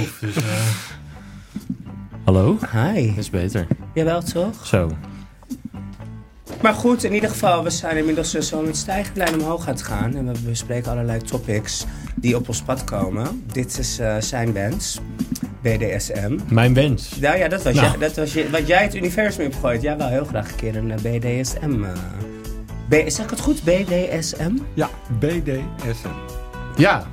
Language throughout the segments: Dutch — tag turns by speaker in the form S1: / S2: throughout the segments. S1: hoofd. Dus, eh,
S2: Hallo?
S3: Hi.
S2: Dit is beter.
S3: Jawel, toch?
S2: Zo.
S3: Maar goed, in ieder geval, we zijn inmiddels eh, zo aan het stijgenplein omhoog aan het gaan. En we bespreken allerlei topics die op ons pad komen. Dit is eh, zijn wens, BDSM.
S2: Mijn wens.
S3: Nou ja, dat was,
S2: Nou.
S3: jij- dat was je, wat jij het universum opgooit. Jij wel heel graag een keer een eh, BDSM. eh, B, zeg ik het goed? BDSM?
S1: ja, BDSM.
S2: Ja.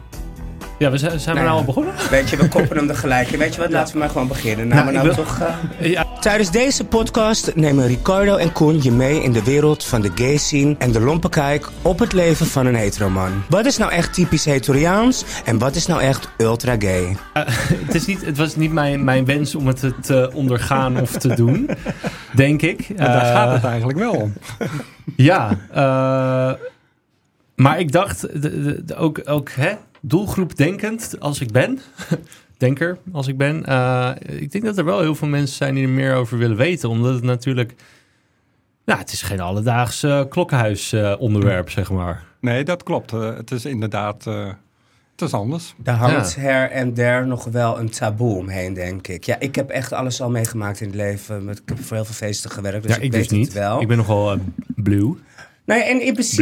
S2: Ja, we zijn, zijn we
S3: Nou
S2: nou
S3: ja.
S2: al begonnen?
S3: Weet je, we koppen hem er gelijk. in. Weet je wat, laten we maar gewoon beginnen. Nou,
S2: Nou,
S3: maar
S2: ik
S3: nou
S2: wil-
S3: toch... eh,
S2: Ja.
S3: Tijdens deze podcast nemen Ricardo en Koen je mee in de wereld van de gay scene en de lompe kijk op het leven van een heteroman. Wat is nou echt typisch hetoriaans en wat is nou echt ultra gay?
S2: het, is niet, het was niet mijn, mijn wens om het te ondergaan of te doen, denk ik.
S1: En daar
S2: Eh,
S1: gaat het eigenlijk wel om.
S2: Ja, eh, maar ik dacht, de- de- de- ook, ook hè, doelgroep denkend als ik ben, denker als ik ben, eh, ik denk dat er wel heel veel mensen zijn die er meer over willen weten, omdat het natuurlijk, nou, het is geen alledaags klokkenhuis onderwerp, zeg maar.
S1: Nee, dat klopt. Eh, het is inderdaad... eh, het is anders.
S3: Daar hangt
S2: Ja.
S3: her en der nog wel een taboe omheen, denk ik. Ja, ik heb echt alles al meegemaakt in het leven. met- Ik heb voor heel veel feesten gewerkt, dus
S2: ja,
S3: ik,
S2: ik
S3: weet
S2: dus niet.
S3: het wel.
S2: Ik ben nogal eh, blue.
S3: Nou ja, en in principe,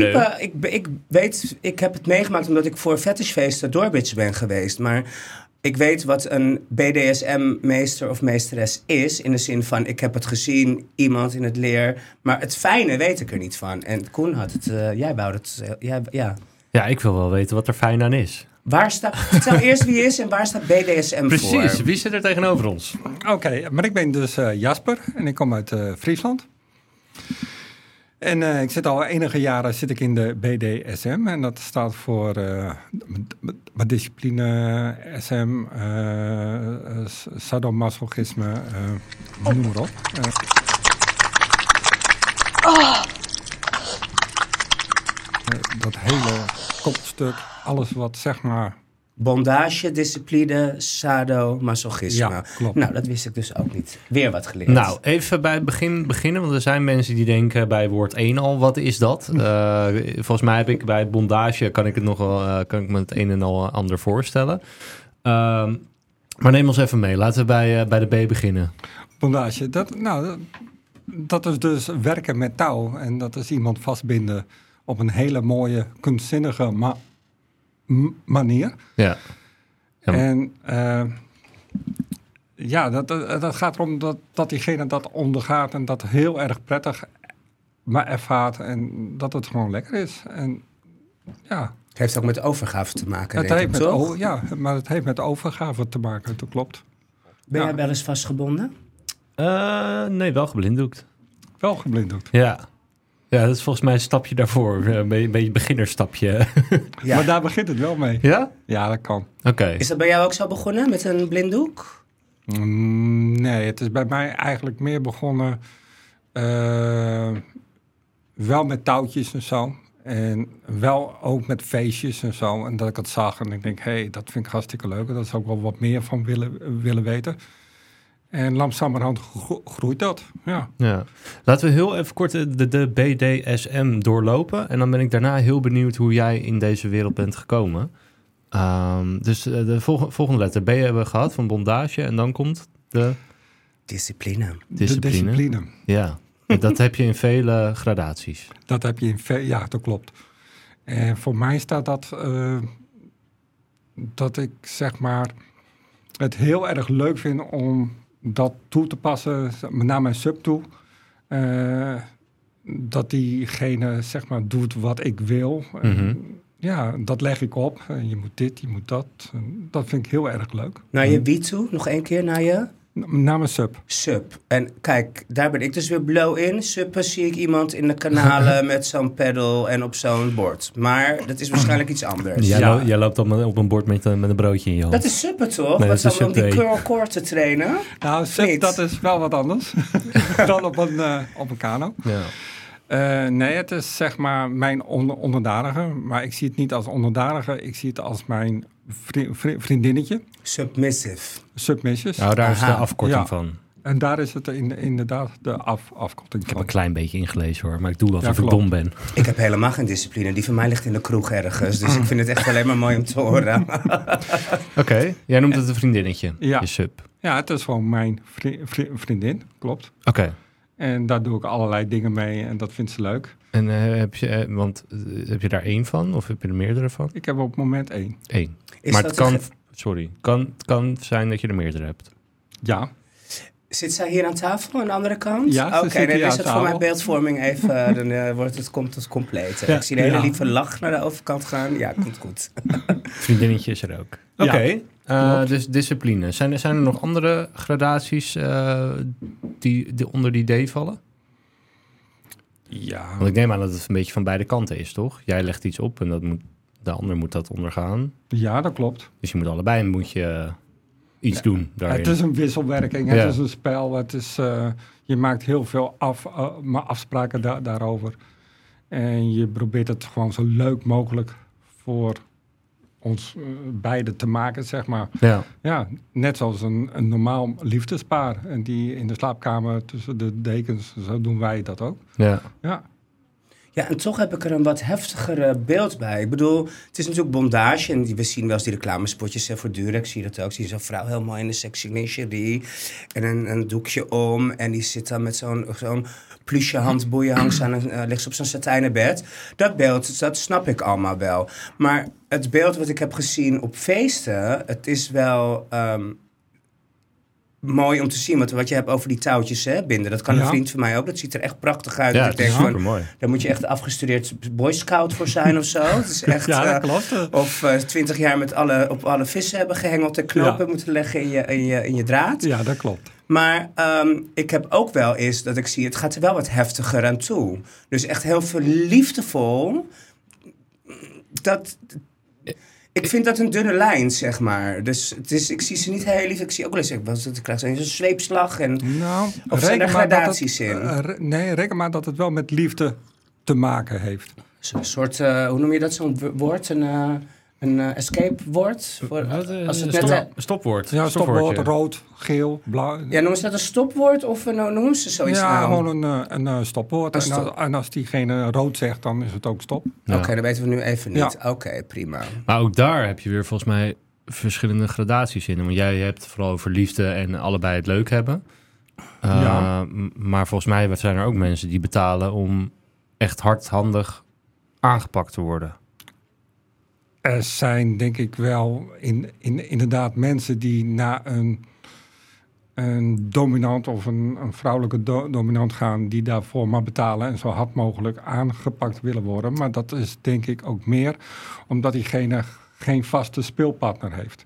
S2: Bleu.
S3: ik, ik weet, ik heb het meegemaakt omdat ik voor fetishfeesten doorbitch ben geweest. Maar ik weet wat een BDSM-meester of meesteres is. In de zin van, ik heb het gezien, iemand in het leer. Maar het fijne weet ik er niet van. En Koen had het, eh, jij wou het, ja, ja.
S2: Ja, ik wil wel weten wat er fijn aan is.
S3: Waar staat, vertel eerst wie is en waar staat BDSM voor?
S2: Precies, wie zit er tegenover ons?
S1: Oké, maar ik ben dus eh, Jasper en ik kom uit eh, Friesland. En eh, ik zit al enige jaren zit ik in de BDSM en dat staat voor eh, m- m- discipline, SM, eh, eh, s- sadomasochisme, eh, noem maar op. Eh, eh, Dat hele kopstuk, alles wat zeg maar
S3: Bondage, discipline, sado, masochisme.
S1: Ja, klopt.
S3: Nou, dat wist ik dus ook niet. Weer wat geleerd.
S2: Nou, even bij het begin beginnen, want er zijn mensen die denken bij woord 1 al, wat is dat? Eh, volgens mij heb ik bij het bondage, kan ik, het nog wel, eh, kan ik me het een en al ander voorstellen. Ehm, maar neem ons even mee, laten we bij, eh, bij de B beginnen.
S1: Bondage, dat, nou, dat- dat is dus werken met touw. En dat is iemand vastbinden op een hele mooie, kunstzinnige ma- m- manier.
S2: Ja, Ja.
S1: En eh, ja, dat, eh, dat, dat gaat erom dat, dat diegene dat ondergaat en dat heel erg prettig maar ervaart. En dat het gewoon lekker is. En ja,
S3: Het heeft ook met overgave te maken,
S1: het
S3: denk
S1: heeft
S3: ik,
S1: met
S3: toch?
S1: o- ja, maar het heeft met overgave te maken, dat klopt.
S3: Ben
S1: Ja.
S3: jij wel eens vastgebonden?
S2: Eh, nee, wel geblinddoekt.
S1: Wel geblinddoekt.
S2: Ja. ja, dat is volgens mij een stapje daarvoor, Eh, een beetje, een beetje beginnersstapje.
S3: Ja.
S1: Maar daar begint het wel mee.
S2: ja?
S1: Ja, dat kan.
S2: Oké.
S3: Is dat bij jou ook zo begonnen, met een blinddoek?
S1: Mm, Nee, het is bij mij eigenlijk meer begonnen. eh, wel met touwtjes en zo. En wel ook met feestjes en zo. En dat ik het zag en ik denk, hé, hey, dat vind ik hartstikke leuk. En daar zou ik wel wat meer van willen, willen weten. En langzamerhand gro- groeit dat. Ja.
S2: Ja. Laten we heel even kort de, de- de BDSM doorlopen. En dan ben ik daarna heel benieuwd hoe jij in deze wereld bent gekomen. Ehm, dus eh, de volg- volgende letter B hebben we gehad van bondage. En dan komt de
S3: Discipline.
S1: De
S2: discipline.
S1: discipline.
S2: Ja. En Dat heb je in vele gradaties.
S1: Dat heb je in ve- Ja, dat klopt. En voor mij staat dat... eh, dat ik zeg maar het heel erg leuk vind om dat toe te passen naar mijn sub toe. Eh, dat diegene zeg maar doet wat ik wil. En
S2: Mhm.
S1: Ja, dat leg ik op. En je moet dit, je moet dat. En dat vind ik heel erg leuk.
S3: Naar je wie toe, nog één keer naar je
S1: N- Naar mijn sub.
S3: sub. En kijk, daar ben ik dus weer blow in. Suppen zie ik iemand in de kanalen met zo'n pedal en op zo'n bord. Maar dat is waarschijnlijk iets anders.
S2: Jij,
S1: Ja.
S2: lo- jij loopt op een, op een bord met, een- met een broodje in je hand.
S3: Dat is suppen toch?
S2: Nee,
S3: Wat
S2: dat is
S3: dan om die
S2: sup
S3: curl core te trainen?
S1: Nou, sub,
S3: Niet.
S1: dat is wel wat anders dan op een, eh, op een kano.
S2: ja.
S1: Eh, nee, het is zeg maar mijn onder, onderdanige. Maar ik zie het niet als onderdanige. Ik zie het als mijn vri- vri- vriendinnetje.
S3: Submissive.
S1: Submissies.
S2: Nou, daar is de
S3: Aha.
S2: afkorting
S1: Ja.
S2: van.
S1: En daar is het in, inderdaad de af, afkorting
S2: Ik heb
S1: van.
S2: een klein beetje ingelezen hoor, maar ik doe wel
S1: Ja,
S2: alsof ik
S1: klopt.
S2: dom ben.
S3: Ik heb helemaal geen discipline. Die van mij ligt in de kroeg ergens. Dus ik vind het echt alleen maar mooi om te horen.
S2: Oké, jij noemt het een vriendinnetje,
S1: Ja.
S2: je sub.
S1: Ja, het is gewoon mijn vri- vri- vriendin, klopt.
S2: Oké,
S1: En daar doe ik allerlei dingen mee en dat vindt ze leuk.
S2: en eh, heb, je, eh, want, eh, heb je daar één van of heb je er meerdere van?
S1: Ik heb op moment één.
S2: Eén.
S3: Is
S2: maar
S3: dat
S2: het kan,
S3: een ge-
S2: sorry, kan, het kan zijn dat je er meerdere hebt.
S1: Ja,
S3: Zit zij hier aan tafel aan de andere kant?
S1: Ja, ze
S3: Oké,
S1: zit
S3: dan
S1: hier
S3: is
S1: aan
S3: het voor mijn
S1: tafel.
S3: beeldvorming even. eh, Dan eh, wordt het, komt het compleet.
S2: Ja.
S3: Ik zie een hele
S1: Ja.
S3: lieve lach naar de overkant gaan. Ja, komt goed.
S2: Vriendinnetje is er ook. Oké,
S1: Ja,
S2: eh,
S1: klopt.
S2: dus discipline. Zijn er, zijn er nog andere gradaties eh, die, die onder die D vallen?
S1: ja.
S2: Want ik neem aan dat het een beetje van beide kanten is, toch? Jij legt iets op en dat moet, de ander moet dat ondergaan.
S1: ja dat klopt.
S2: Dus je moet allebei moet je eh, iets doen daarin.
S3: dus-
S1: Het is een wisselwerking,
S2: Ja.
S1: het is een spel. Het is, eh, je maakt heel veel af, eh, maar afspraken da- daarover. En je probeert het gewoon zo leuk mogelijk voor ons eh, beiden te maken, zeg maar.
S2: Ja.
S1: Ja, net zoals een, een normaal liefdespaar. En die in de slaapkamer tussen de dekens, zo doen wij dat ook.
S3: dus
S2: ja.
S1: Ja,
S3: Ja, en toch heb ik er een wat heftiger eh, beeld bij. Ik bedoel, het is natuurlijk bondage. En die- we zien wel eens die reclamespotjes hè, voor Durex. Zie je dat ook? Zie je zo'n vrouw heel mooi in een sexy lingerie. En een, een doekje om. En die zit dan met zo'n zo'n plusje handboeien. Hangt ze aan een, eh, ligt ze op zo'n satijnen bed. Dat beeld, dat snap ik allemaal wel. Maar het beeld wat ik heb gezien op feesten... Het is wel... ehm, Mooi om te zien, want wat je hebt over die touwtjes hè, binden. Dat kan een
S1: Ja.
S3: vriend van mij ook. Dat ziet er echt prachtig uit.
S2: ja,
S3: Dat
S2: het
S3: ik
S2: is
S3: denk van,
S2: super mooi.
S3: daar moet je echt afgestudeerd boy scout voor zijn of zo. Het is echt,
S1: ja
S3: eh,
S1: dat klopt.
S3: of twintig jaar met alle, op alle vissen hebben gehengeld en knopen
S1: Ja.
S3: moeten leggen in je, in je, in je draad.
S1: Ja, dat klopt.
S3: Maar ehm, ik heb ook wel eens dat ik zie, het gaat er wel wat heftiger aan toe. Dus echt heel veel liefdevol. Dat, ik vind dat een dunne lijn, zeg maar. Dus het is, ik zie ze niet heel lief. Ik zie ook wel eens, ik was- ik krijg zo'n zweepslag. En,
S1: Nou,
S3: Of zijn
S1: reken
S3: er
S1: maar dat
S3: gradaties
S1: het-
S3: in?
S1: eh, re- nee, reken maar dat het wel met liefde te maken heeft.
S3: Zo'n soort, eh, hoe noem je dat, zo'n wo- woord? Een, eh, een eh, escape woord? Voor, als het net, eh,
S2: stopwoord.
S1: Ja, stopwoord,
S2: Stopwoordje.
S1: rood, geel, blauw.
S3: ja, noemen ze dat een stopwoord of eh, nou, noemen ze zoiets
S1: Ja,
S3: nou?
S1: gewoon een, eh, een eh, stopwoord.
S3: Een
S1: En als,
S3: stop.
S1: en als diegene rood zegt, dan is het ook stop.
S2: Ja.
S3: Oké, dat weten we nu even
S1: Ja.
S3: niet. Oké, prima.
S2: Maar ook daar heb je weer volgens mij verschillende gradaties in. Want jij hebt het vooral over liefde en allebei het leuk hebben. Uh,
S1: Ja.
S2: m- Maar volgens mij zijn er ook mensen die betalen om echt hardhandig aangepakt te worden.
S1: Er zijn denk ik wel in, in, inderdaad mensen die na een, een dominant of een, een vrouwelijke do- dominant gaan, die daarvoor maar betalen en zo hard mogelijk aangepakt willen worden. Maar dat is denk ik ook meer omdat diegene geen vaste speelpartner heeft.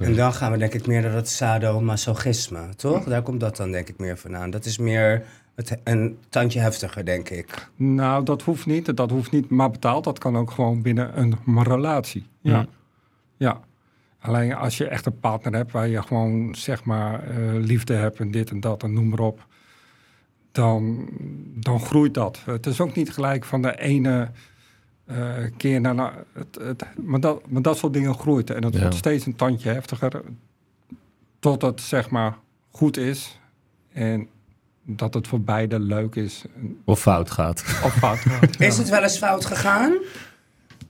S3: En dan gaan we denk ik meer naar dat sadomasochisme, toch? Daar komt dat dan denk ik meer vandaan. Dat is meer het, een tandje heftiger, denk ik.
S1: Nou, dat hoeft niet. Dat hoeft niet maar betaald. Dat kan ook gewoon binnen een relatie. Ja.
S2: Ja.
S1: ja. Alleen als je echt een partner hebt waar je gewoon zeg maar eh, liefde hebt en dit en dat en noem maar op. Dan, dan groeit dat. Het is ook niet gelijk van de ene eh, keer naar de het, het, maar, dat, maar dat soort dingen groeit. En dat
S2: Ja.
S1: wordt steeds een tandje heftiger. Totdat het zeg maar goed is. En dat het voor beide leuk is.
S2: Of fout gaat.
S1: Of fout gaat.
S3: Is het wel eens fout gegaan?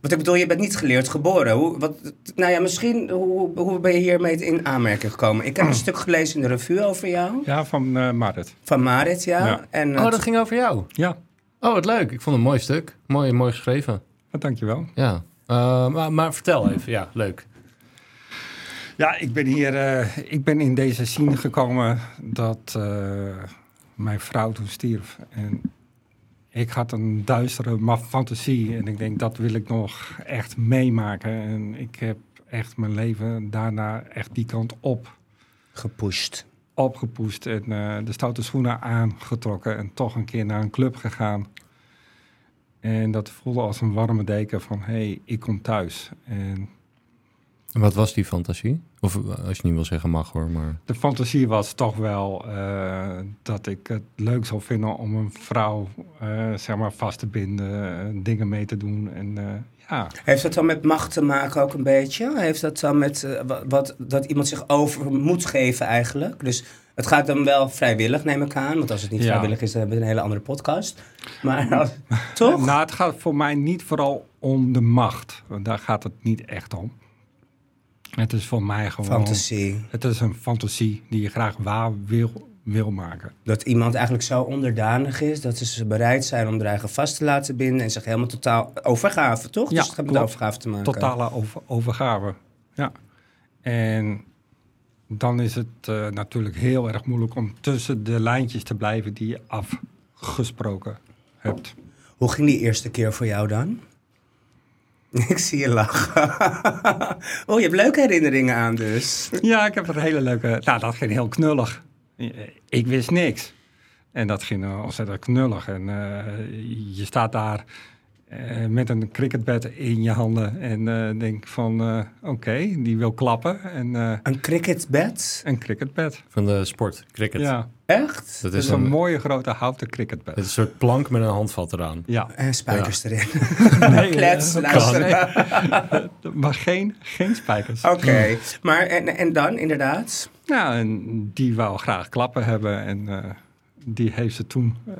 S3: Want ik bedoel, je bent niet geleerd geboren. Hoe, wat, nou ja, misschien, hoe, hoe ben je hiermee in aanmerking gekomen? Ik heb een stuk gelezen in de revue over jou,
S1: Ja, van eh Marit.
S3: van Marit, ja.
S1: Ja.
S3: En, eh,
S2: Oh, dat ging over jou.
S1: Ja,
S2: Oh, wat leuk. Ik vond het een mooi stuk. Mooi, mooi geschreven.
S1: eh, dankjewel.
S2: Ja. Eh, maar, maar vertel even. Ja, leuk.
S1: Ja, ik ben hier, eh, ik ben in deze scene gekomen dat eh, mijn vrouw toen stierf. En ik had een duistere ma- fantasie en ik denk dat wil ik nog echt meemaken. En ik heb echt mijn leven daarna echt die kant op
S3: gepusht.
S1: opgepoest en eh, de stoute schoenen aangetrokken en toch een keer naar een club gegaan. En dat voelde als een warme deken van, hé, hey, ik kom thuis. En
S2: En Wat was die fantasie? Of eh, als je niet wil zeggen mag hoor, maar...
S1: De fantasie was toch wel eh, dat ik het leuk zou vinden om een vrouw eh, zeg maar vast te binden, eh, dingen mee te doen. En eh, ja,
S3: Heeft dat dan met macht te maken ook een beetje? Heeft dat dan met eh, wa- wat, dat iemand zich over moet geven eigenlijk? Dus het Het gaat dan wel vrijwillig, neem ik aan. Want als het niet
S1: Ja.
S3: vrijwillig is, dan hebben we een hele andere podcast. Maar als- toch?
S1: Nou, het gaat voor mij niet vooral om de macht. Want daar gaat het niet echt om. Het is voor mij gewoon...
S3: Fantasie.
S1: Het is een fantasie die je graag waar wil, wil maken.
S3: Dat iemand eigenlijk zo onderdanig is dat ze bereid zijn om er eigen vast te laten binden en zich helemaal totaal overgave, toch?
S1: Ja,
S3: dus het gaat met
S1: klopt.
S3: overgave te maken.
S1: Totale over, overgave. Ja. En dan is het eh, natuurlijk heel erg moeilijk om tussen de lijntjes te blijven die je afgesproken hebt.
S3: Hoe ging die eerste keer voor jou dan? Ik zie je lachen. oh, je hebt leuke herinneringen aan dus.
S1: Ja, ik heb er een hele leuke. Nou, dat ging heel knullig. Ik wist niks. En dat ging eh, ontzettend knullig. En eh, je staat daar eh, met een cricketbed in je handen en eh denk van, eh, oké, die wil klappen. En eh,
S3: Een cricketbed?
S1: een cricketbed.
S2: Van de sport, cricket.
S1: Ja,
S3: Echt?
S2: Dat
S1: dat
S2: is
S1: is een
S2: een,
S1: mooie grote houten cricketbed.
S2: een soort plank met een handvat eraan.
S1: Ja.
S3: En Eh, spijkers erin.
S1: Nee,
S3: Klets,
S1: eh,
S3: luister.
S1: nee. maar geen, geen spijkers.
S2: Oh.
S3: Oké, maar en, en dan inderdaad?
S1: Nou, en die wou graag klappen hebben en eh, die heeft ze toen, eh,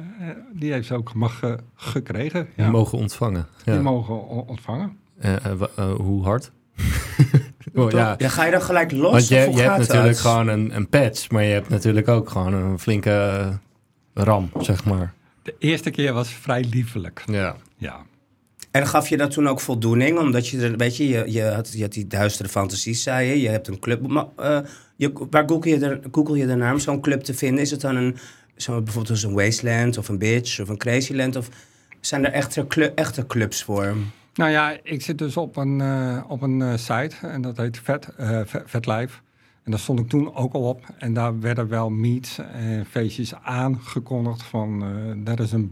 S1: die heeft ze ook mag, eh, gekregen.
S2: Die
S1: Ja.
S2: mogen ontvangen. Ja.
S1: Die mogen o- ontvangen.
S2: Eh, eh, wa- eh, hoe hard? oh, ja.
S3: Ja, ga je dan gelijk los?
S2: Want je,
S3: of hoe
S2: je hebt
S3: gaat dat?
S2: natuurlijk gewoon een, een patch, maar je hebt natuurlijk ook gewoon een flinke eh, ram, zeg maar.
S1: De eerste keer was vrij liefelijk.
S2: Ja.
S1: Ja.
S3: En gaf je dat toen ook voldoening? Omdat je, er, weet je, je, je, had, je had die duistere fantasies, zei je. Je hebt een club. Maar, eh, je, waar google je, de, google je de naam zo'n club te vinden? Is het dan een, zo, bijvoorbeeld als een Wasteland of een Bitch of een Crazyland? Of zijn er echte, clu- echte clubs voor?
S1: Nou ja, ik zit dus op een, eh, op een eh, site en dat heet Vet, eh, Vet- VetLife. En daar stond ik toen ook al op. En daar werden wel meets en feestjes aangekondigd van... eh dat is een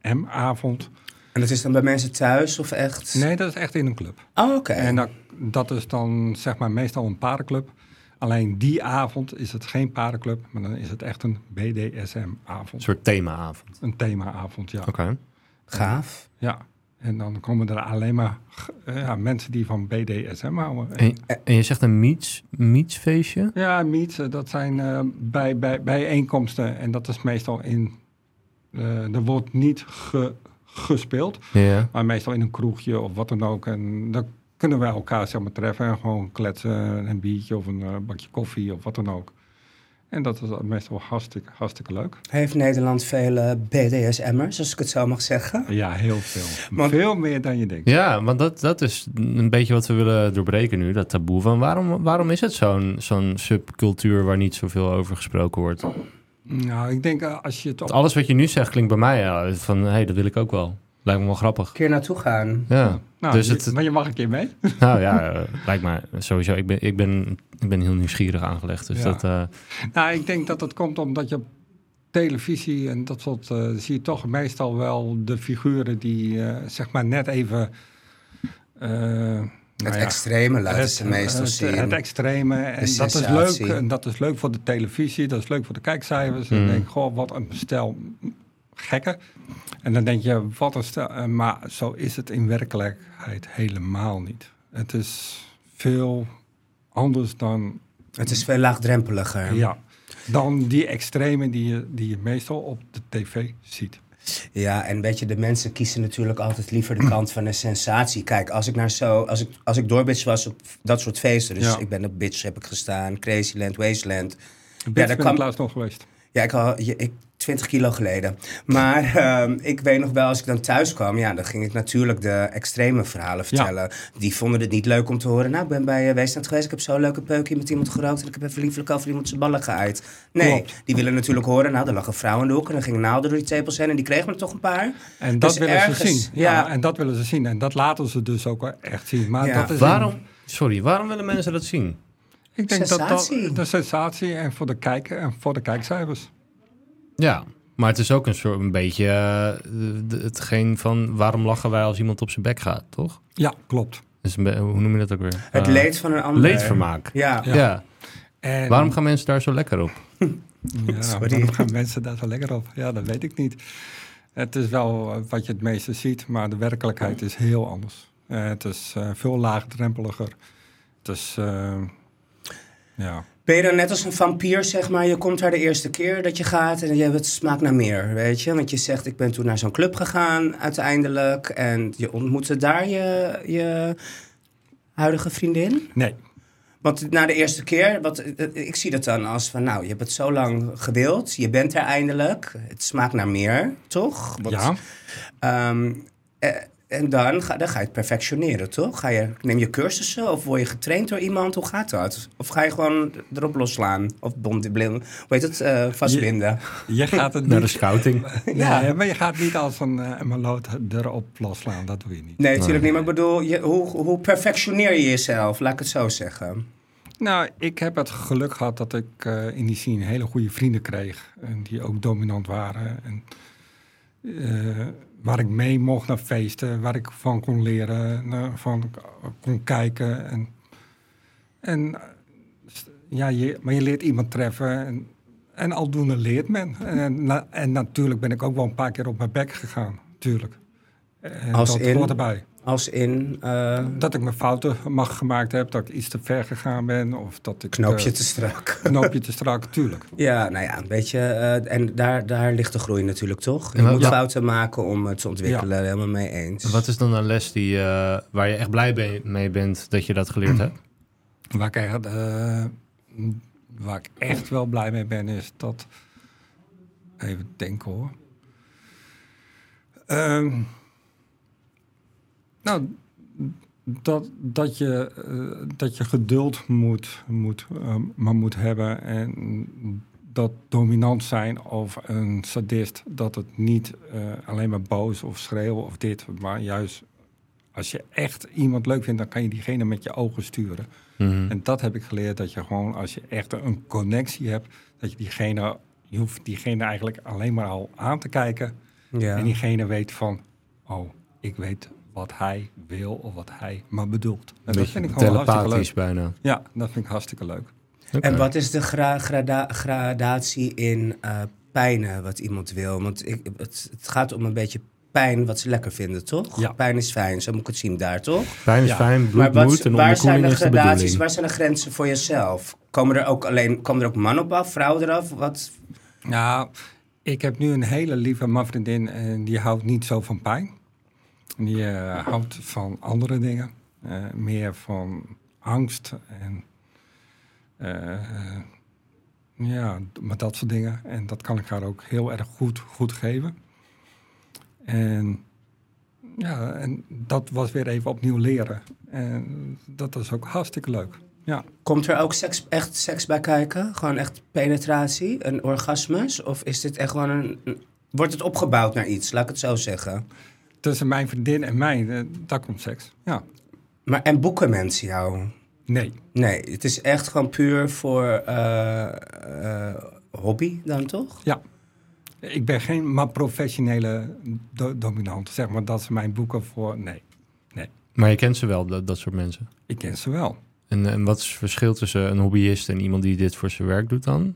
S1: BDSM-avond.
S3: En dat is dan bij mensen thuis of echt?
S1: Nee, dat is echt in een club.
S3: Oh, oké.
S1: En dat, dat is dan zeg maar meestal een parenclub. Alleen die avond is het geen parenclub, maar dan is het echt een
S2: Een
S1: BDSM-avond.
S2: soort themaavond.
S1: Een themaavond, ja.
S2: Oké.
S3: Gaaf.
S1: ja. En dan komen er alleen maar g- eh, ja, mensen die van BDSM houden.
S2: En, en je zegt een meets, meetsfeestje?
S1: Ja, meets, eh, dat zijn eh, bij, bij, bijeenkomsten en dat is meestal in... eh, er wordt niet ge- gespeeld,
S2: Ja.
S1: maar meestal in een kroegje of wat dan ook. En dan kunnen wij elkaar zeg maar treffen en gewoon kletsen, een biertje of een eh, bakje koffie of wat dan ook. En dat is meestal hartstikke, hartstikke leuk.
S3: Heeft Nederland vele BDSM'ers, als ik het zo mag zeggen?
S1: Ja, heel veel.
S3: Maar-
S1: veel meer dan je denkt.
S2: Ja, want dat, dat is een beetje wat we willen doorbreken nu, dat taboe. Van waarom, waarom is het zo'n zo'n subcultuur waar niet zoveel over gesproken wordt? Want
S1: Nou, ik denk eh, als je het op...
S2: alles wat je nu zegt klinkt bij mij ja, van, hé, hey, dat wil ik ook wel. Lijkt me wel grappig.
S3: Een keer naartoe gaan.
S2: Ja,
S1: Nou,
S2: dus
S1: je-
S2: het,
S1: Maar je mag een keer mee.
S2: nou ja, eh, lijkt me sowieso. Ik ben, ik ben, ik ben heel nieuwsgierig aangelegd. Dus
S1: Ja.
S2: dat, eh,
S1: Nou, ik denk dat dat komt omdat je op televisie en dat soort... eh, zie je toch meestal wel de figuren die eh, zeg maar net even... eh, nou
S3: Het
S1: ja,
S3: extreme laten
S1: het-
S3: ze meestal
S1: het,
S3: zien.
S1: Het extreme. En
S3: De
S1: dat is leuk.
S3: sensatie. Hmm.
S1: En dat is leuk voor de televisie. Dat is leuk voor de kijkcijfers. En
S2: Mm.
S1: dan denk ik, goh, wat een stel gekken. En dan denk je, wat een stel... eh, Maar zo is het in werkelijkheid helemaal niet. Het is veel anders dan
S3: Het is veel laagdrempeliger.
S1: ja, dan die extreme die je, die je meestal op de tv ziet.
S3: Ja, en weet je, de mensen kiezen natuurlijk altijd liever de kant van een sensatie. Kijk, als ik naar zo, als ik, als ik doorbitch was op dat soort feesten, dus
S1: Ja.
S3: ik ben op bitch heb ik gestaan, Crazyland, Wasteland.
S1: Ja,
S3: daar
S1: daar
S3: kwam-
S1: kwam ik laatst nog geweest.
S3: Ja, ik al, je- ik, 20 kilo geleden. Maar ehm, ik weet nog wel, als ik dan thuis kwam, ja, dan ging ik natuurlijk de extreme verhalen vertellen. Die vonden het niet leuk om te horen. Nou, ik ben bij uh, Weesland geweest, ik heb zo'n leuke peukje met iemand gerookt en ik heb even liefelijk over iemand zijn ballen geaaid. Nee,
S1: Klopt.
S3: die willen natuurlijk horen, nou, er lag een vrouw in de hoek en er gingen naalden door die tepels heen en die kregen er toch een paar.
S1: En dat
S3: Dus
S1: willen ze
S3: ergens,
S1: zien. Ja.
S3: ja.
S1: en dat willen ze zien. En dat laten ze dus ook echt zien. Maar
S3: Ja.
S1: dat is
S2: waarom, sorry, waarom willen mensen dat zien?
S1: Ik denk dat dat
S3: Sensatie.
S1: de sensatie en voor de kijker en voor de kijkcijfers.
S2: Ja, maar het is ook een soort een beetje eh, de- de- hetgeen van waarom lachen wij als iemand op zijn bek gaat, toch?
S1: Ja, klopt.
S2: Dus een be- hoe noem je dat ook weer?
S3: Het
S2: Eh,
S3: leed van een ander.
S2: leedvermaak.
S3: Ja.
S2: Ja.
S1: En
S2: Waarom gaan mensen daar zo lekker op?
S1: Ja,
S3: Sorry.
S1: waarom gaan mensen daar zo lekker op? Ja, dat weet ik niet. Het is wel eh, wat je het meeste ziet, maar de werkelijkheid is heel anders. Eh, het is eh, veel laagdrempeliger. Het is, eh, ja.
S3: Ben je dan net als een vampier, zeg maar, je komt daar de eerste keer dat je gaat en je hebt smaak naar meer, weet je? Want je zegt, ik ben toen naar zo'n club gegaan uiteindelijk en je ontmoette daar je, je huidige vriendin.
S1: Nee.
S3: Want na de eerste keer, wat, eh, ik zie dat dan als van, nou, je hebt het zo lang gewild, je bent er eindelijk, het smaakt naar meer, toch? Want,
S1: ja.
S3: ehm, eh, en dan ga, dan ga je het perfectioneren, toch? Ga je, neem je cursussen of word je getraind door iemand? Hoe gaat dat? Of ga je gewoon erop losslaan? Of bond, blin, hoe heet het? eh, vastbinden.
S1: Je gaat het
S2: Naar de
S1: niet,
S2: scouting.
S1: dus- ja. maar je gaat niet als een, eh, een maloot erop losslaan. Dat doe je niet.
S3: Nee, natuurlijk niet. Maar ik bedoel, je, hoe, hoe perfectioneer je jezelf? Laat ik het zo zeggen.
S1: Nou, ik heb het geluk gehad dat ik eh, in die scene hele goede vrienden kreeg. En die ook dominant waren. En, eh, waar ik mee mocht naar feesten. Waar ik van kon leren. en, eh, van k- kon kijken. En, en eh, st- ja, je, maar je leert iemand treffen. En, en aldoende leert men. En, na- en natuurlijk ben ik ook wel een paar keer op mijn bek gegaan. Tuurlijk. En
S3: Als
S1: dat
S3: in?
S1: hoort erbij.
S3: Als in eh
S1: Dat ik mijn fouten mag gemaakt heb, dat ik iets te ver gegaan ben. Of dat ik
S3: knoopje
S1: eh,
S3: te strak.
S1: knoopje te strak, tuurlijk.
S3: Ja, nou ja, een beetje. eh, en daar, daar ligt de groei natuurlijk, toch? Je
S2: Ja.
S3: moet
S2: Ja.
S3: fouten maken om het te ontwikkelen. Helemaal mee eens.
S2: Wat is dan een les die, eh, waar je echt blij be- mee bent dat je dat geleerd hebt?
S1: Waar ik, echt, eh, waar ik echt wel blij mee ben, is dat. Even denken hoor. Ehm, nou, dat, dat, je, eh, dat je geduld moet, moet, eh, maar moet hebben. En dat dominant zijn of een sadist, dat het niet eh, alleen maar boos of schreeuwen of dit, maar juist als je echt iemand leuk vindt, dan kan je diegene met je ogen sturen. En dat heb ik geleerd, dat je gewoon als je echt een connectie hebt, dat je diegene, je hoeft diegene eigenlijk alleen maar al aan te kijken.
S3: ja.
S1: En diegene weet van, oh, ik weet wat hij wil of wat hij maar bedoelt. En dat vind ik gewoon hartstikke
S2: telepathisch
S1: leuk.
S2: bijna.
S1: Ja, dat vind ik hartstikke leuk.
S2: Oké.
S3: En wat is de gra- grada- gradatie in eh, pijnen wat iemand wil? Want ik, het, het gaat om een beetje pijn wat ze lekker vinden, toch?
S1: Ja.
S3: Pijn is fijn, zo moet ik het zien daar, toch?
S2: Fijn is
S1: Ja.
S2: fijn, bloed
S3: maar wat,
S2: moet en
S3: waar zijn
S2: onderkoeling
S3: de
S2: is de
S3: gradaties,
S2: bedoeling.
S3: waar zijn de grenzen voor jezelf? Komen er ook, alleen, komen er ook mannen op af, vrouwen eraf? Wat?
S1: Nou, ik heb nu een hele lieve man vriendin en die houdt niet zo van pijn. Die eh, houdt van andere dingen. Eh, meer van angst en eh, ja, maar dat soort dingen. En dat kan ik haar ook heel erg goed, goed geven. En ja, en dat was weer even opnieuw leren. En dat is ook hartstikke leuk. Ja.
S3: Komt er ook seks, echt seks bij kijken? Gewoon echt penetratie, een orgasmus? Of is dit echt gewoon een... een- Wordt het opgebouwd naar iets, laat ik het zo zeggen?
S1: Tussen mijn vriendin en mij, eh, daar komt seks. Ja.
S3: Maar, en boeken mensen jou?
S1: Nee.
S3: Nee, het is echt gewoon puur voor eh, eh, hobby dan toch?
S1: Ja. Ik ben geen maar professionele do- dominant. Zeg maar dat ze mijn boeken voor. Nee. Nee.
S2: Maar je kent ze wel, dat, dat soort mensen.
S1: Ik ken ze wel.
S2: En, en wat is het verschil tussen een hobbyist en iemand die dit voor zijn werk doet dan?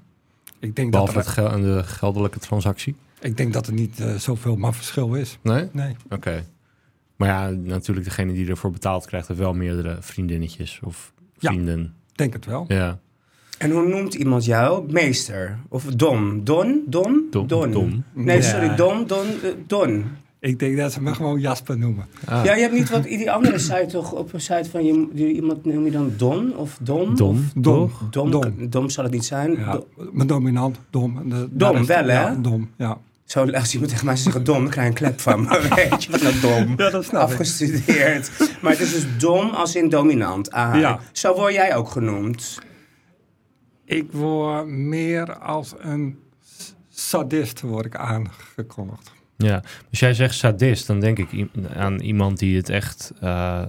S1: Ik denk, dat
S2: Behalve
S1: er,
S2: het gel- en de geldelijke transactie?
S1: ik denk dat er niet eh, zoveel maar verschil is.
S2: Nee?
S1: Nee.
S2: Oké. Maar ja, natuurlijk degene die ervoor betaald krijgt, heeft wel meerdere vriendinnetjes of
S1: Ja.
S2: vrienden.
S1: Ik Denk het wel.
S2: Ja.
S3: En hoe noemt iemand jou? Meester? Of Don? Don? Don?
S2: Dom.
S3: Don.
S2: Dom.
S3: Nee,
S1: Ja.
S3: sorry, Don, Don, eh, Don.
S1: Ik denk dat ze me gewoon Jasper noemen.
S2: Ah.
S3: Ja, je hebt niet wat die andere site toch op een site van je, die, iemand noem je dan Don of Dom?
S2: Dom.
S3: Of
S1: Dom.
S3: Dom,
S1: Dom.
S3: dom. zal het niet zijn.
S1: Ja.
S3: Do-
S1: Maar dominant, dom. De- daar is-
S3: wel, hè?
S1: Ja, dom, ja.
S3: Zo, als iemand tegen mij zegt dom, dan krijg ik een klep van me. Weet je wat nou dom?
S1: Ja, dat snap ik.
S3: Afgestudeerd. Maar het is dus dom als in dominant. Ah,
S1: Ja.
S3: Zo word jij ook genoemd.
S1: Ik word meer als een s- sadist word ik aangekondigd.
S2: Ja, als jij zegt sadist, dan denk ik i- aan iemand die het echt. eh,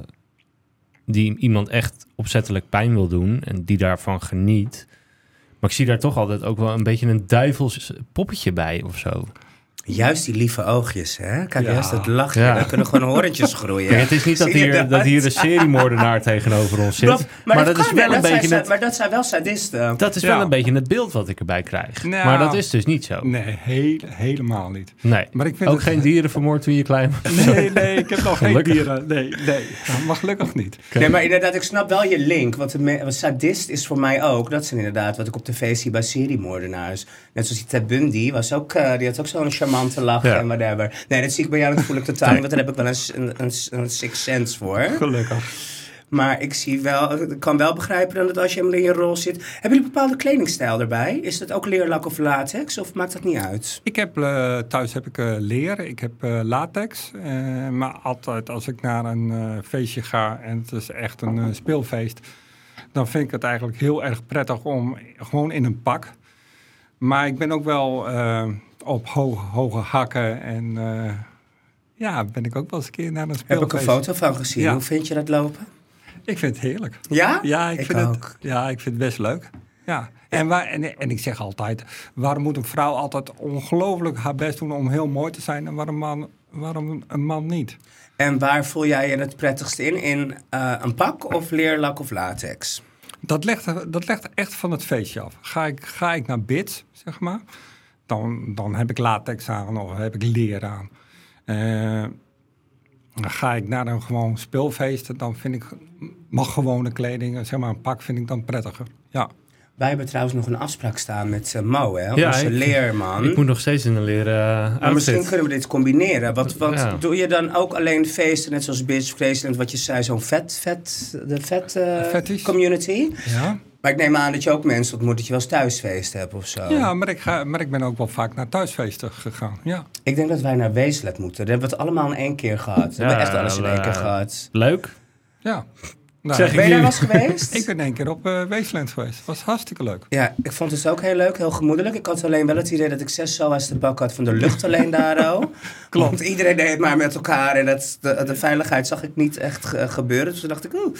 S2: die iemand echt opzettelijk pijn wil doen en die daarvan geniet. Maar ik zie daar toch altijd ook wel een beetje een duivels poppetje bij of zo.
S3: Juist die lieve oogjes, hè? Kijk,
S2: Ja.
S3: juist dat lachje.
S2: Ja.
S3: Daar kunnen gewoon horentjes groeien.
S2: Kijk, het is niet dat
S3: Zie je
S2: hier, dat hier een seriemoordenaar tegenover ons zit.
S3: Klopt,
S2: maar, dat, is
S3: kan,
S2: wel
S3: hè,
S2: een
S3: dat
S2: beetje
S3: zijn,
S2: het,
S3: Maar dat zijn wel sadisten.
S2: dat is wel
S1: Ja.
S2: een beetje het beeld wat ik erbij krijg.
S1: Nou.
S2: maar dat is dus niet zo. Nee.
S1: Nee, heel- helemaal niet. Maar ik vind
S2: Ook
S1: het-
S2: geen dieren vermoord toen je klein was.
S1: Nee, nee, ik heb nog geen
S2: Gelukkig.
S1: dieren. Nee, nee. Nou, Maar gelukkig niet.
S3: Nee, maar inderdaad, ik snap wel je link. Want de me- want sadist is voor mij ook. Dat zijn inderdaad wat ik op tv zie bij seriemoordenaars. Net zoals die Ted Bundy. Was ook, eh, die had ook zo'n charmante lach
S2: Ja.
S3: en whatever. Nee, dat zie ik bij jou natuurlijk totaal niet. Want daar heb ik wel een, s- een, een, s- een six sense voor.
S1: Gelukkig.
S3: Maar ik zie wel, ik kan wel begrijpen dan dat als je helemaal in je rol zit. Hebben jullie een bepaalde kledingstijl erbij? Is dat ook leerlak of latex? Of maakt dat niet uit?
S1: Ik heb, eh, thuis heb ik eh, leer, ik heb eh, latex. eh, maar altijd als ik naar een eh, feestje ga en het is echt een eh, speelfeest... dan vind ik het eigenlijk heel erg prettig om gewoon in een pak. Maar ik ben ook wel eh, op ho- hoge hakken en... eh, ja, ben ik ook wel eens een keer naar een
S3: Heb
S1: speelfeest.
S3: ik een foto van gezien.
S1: Ja.
S3: Hoe vind je dat lopen?
S1: Ik vind het heerlijk.
S3: Ja?
S1: Ja, ik,
S3: Ik
S1: vind
S3: ook.
S1: Het, ja, ik vind het best leuk. Ja. En, waar, en, en ik zeg altijd, waarom moet een vrouw altijd ongelooflijk haar best doen om heel mooi te zijn en waarom, man, waarom een man niet?
S3: En waar voel jij je het prettigst in? In eh, een pak of leerlak of latex?
S1: Dat legt, dat legt echt van het feestje af. Ga ik, ga ik naar bits, zeg maar, dan, dan heb ik latex aan of heb ik leer aan. Eh, ga ik naar een gewoon speelfeest, dan vind ik, mag gewone kleding, zeg maar een pak vind ik dan prettiger. Ja.
S3: Wij hebben trouwens nog een afspraak staan met eh, Mo, hè?
S2: Ja,
S3: onze
S2: ik-
S3: leerman.
S2: Ik moet nog steeds in een leren eh,
S3: maar Nou. misschien
S2: outfit.
S3: kunnen we dit combineren. Wat, wat
S2: Ja.
S3: doe je dan ook alleen feesten, net zoals Bitch Crazy, en wat je zei, zo'n vet, vet, de vet eh,
S1: Fetish.
S3: community?
S1: ja.
S3: Maar ik neem aan dat je ook mensen ontmoet, dat je wel eens thuisfeest hebt of zo.
S1: Ja, maar ik, ga, maar ik ben ook wel vaak naar thuisfeesten gegaan. Ja.
S3: Ik denk dat wij naar Weeslet moeten. Dat hebben we het allemaal in één keer gehad. we
S2: Ja,
S3: hebben echt alles in één
S2: wel,
S3: keer
S2: eh,
S3: gehad.
S2: Leuk.
S1: ja. Nou,
S2: Zeg
S3: Ben je daar
S2: nu-
S3: wel eens geweest?
S1: Ik ben één keer op eh Weesland geweest. Dat was hartstikke leuk.
S3: Ja, ik vond het dus ook heel leuk, heel gemoedelijk. Ik had alleen wel het idee dat ik zes SOA's te bak had van de lucht alleen daar al. Klopt. Want iedereen deed het maar met elkaar en dat, de, de veiligheid zag ik niet echt ge- gebeuren. Dus toen dacht ik, oeh.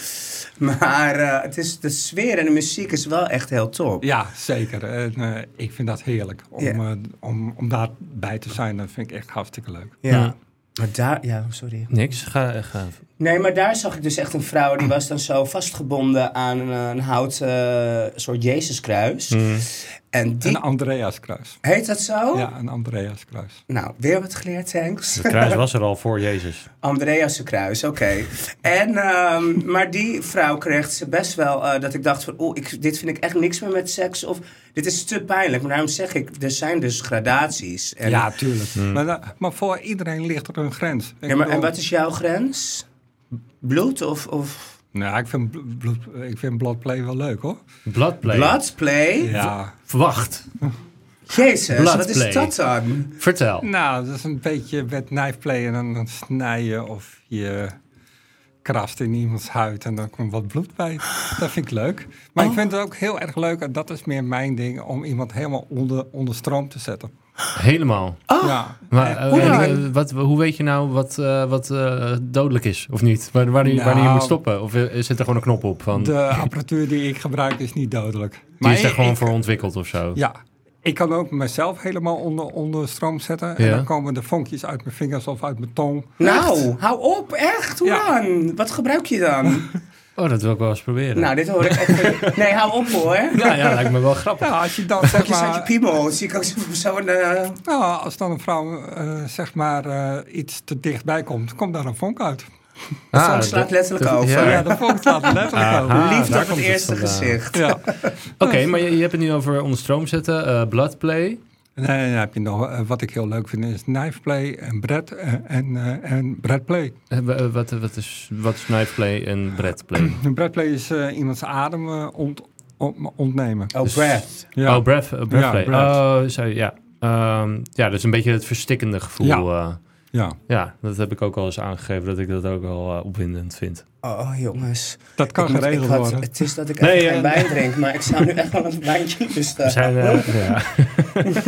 S3: Maar eh, het is, de sfeer en de muziek is wel echt heel top.
S1: Ja, zeker. En, eh, ik vind dat heerlijk. Om,
S3: Ja.
S1: eh, om, om daarbij te zijn, dat vind ik echt hartstikke leuk.
S2: Ja.
S3: Maar daar, ja, sorry.
S2: Niks. Ga, ga.
S3: Nee, maar daar zag ik dus echt een vrouw die was dan zo vastgebonden aan een, een houten soort Jezuskruis. Mm. En die, Oh.
S1: Een Andreas Kruis.
S3: heet dat zo?
S1: Ja, een Andreas Kruis.
S3: Nou, weer wat geleerd, thanks.
S2: Het kruis was er al voor Jezus.
S3: Andreas Kruis, oké. En, ehm, maar die vrouw kreeg ze best wel eh, dat ik dacht van... oh, ik, dit vind ik echt niks meer met seks. Of dit is te pijnlijk. Maar daarom zeg ik, er zijn dus gradaties. En,
S1: ja, tuurlijk. Maar, da- maar voor iedereen ligt er een grens. Ik
S3: Ja, maar, en
S1: bedoel-
S3: wat is jouw grens? Bloed of... of
S1: Nou, ik vind, bl- bloed- ik vind Bloodplay wel leuk, hoor.
S2: Bloodplay.
S3: bloodplay?
S1: Ja.
S2: Wacht.
S3: Jezus, wat
S2: Bloodplay.
S3: is dat dan?
S2: Vertel.
S1: Nou, dat is een beetje met knifeplay en dan, dan snij je of je krast in iemands huid en dan komt wat bloed bij. Dat vind ik leuk. Maar
S2: Oh.
S1: ik vind het ook heel erg leuk, en dat is meer mijn ding, om iemand helemaal onder, onder stroom te zetten.
S2: Helemaal.
S1: Ja.
S2: Maar eh,
S3: hoe
S2: en,
S3: dan?
S2: eh, wat, hoe weet je nou wat, eh, wat eh, dodelijk is of niet? Waar, waar, die- waar die je
S1: Nou.
S2: moet stoppen? Of eh, zit er gewoon een knop op? Van,
S1: De apparatuur die ik gebruik is niet dodelijk.
S2: die is er
S1: ik-
S2: gewoon
S1: ik-
S2: voor ontwikkeld of zo?
S1: Ja. Ik kan ook mezelf helemaal onder, onder stroom zetten.
S2: Ja.
S1: En dan komen de vonkjes uit mijn vingers of uit mijn tong.
S3: Nou, hou op, echt? Hoe
S1: Ja.
S3: dan? Wat gebruik je dan?
S2: Oh, dat wil ik wel eens proberen.
S3: nou, dit hoor ik echt... van- Nee, hou op hoor.
S2: ja, ja, lijkt me wel grappig.
S1: Ja, als je dan zeg
S3: Je zat je
S1: maar...
S3: piemel. Zie ik ook zo- zo'n... eh,
S1: Nou, als dan een vrouw eh, zeg maar eh, iets te dichtbij komt, komt daar een vonk uit.
S2: Ah,
S3: soms slaat
S2: dat-
S3: letterlijk over.
S1: Ja,
S2: ja.
S1: de vonk staat er letterlijk
S2: Aha.
S1: over.
S3: Liefde
S2: Ah, daar
S3: op het
S2: komt het
S3: eerste
S2: vandaan.
S3: gezicht.
S1: Ja.
S2: Oké, maar je, je hebt het nu over onder stroom zetten, eh bloodplay.
S1: En dan heb je nog, eh, wat ik heel leuk vind, is knife play en bread eh, en, eh, en breadplay.
S2: Eh, wa- eh, wat, wat is, wat is knifeplay en breadplay?
S1: Een breadplay is eh, iemands adem eh, ont, ont- ontnemen.
S3: Oh,
S2: Dus
S3: breath.
S1: Ja.
S2: Oh, breath, eh, breathplay.
S1: Ja, breath.
S2: Oh, sorry, ja. Ehm, ja, dus een beetje het verstikkende gevoel.
S1: Ja.
S2: eh.
S1: ja.
S2: ja, dat heb ik ook al eens aangegeven dat ik dat ook wel eh, opwindend vind.
S3: Oh, jongens.
S1: Dat kan
S3: Ik moet-
S1: geregeld
S3: ik had-
S1: worden.
S3: Het is dat ik
S2: Nee,
S3: echt
S2: ja,
S3: geen wijn drink, maar ik zou nu echt wel een wijntje dus, oh.
S2: We
S3: bestaan.
S2: zijn, eh, ja.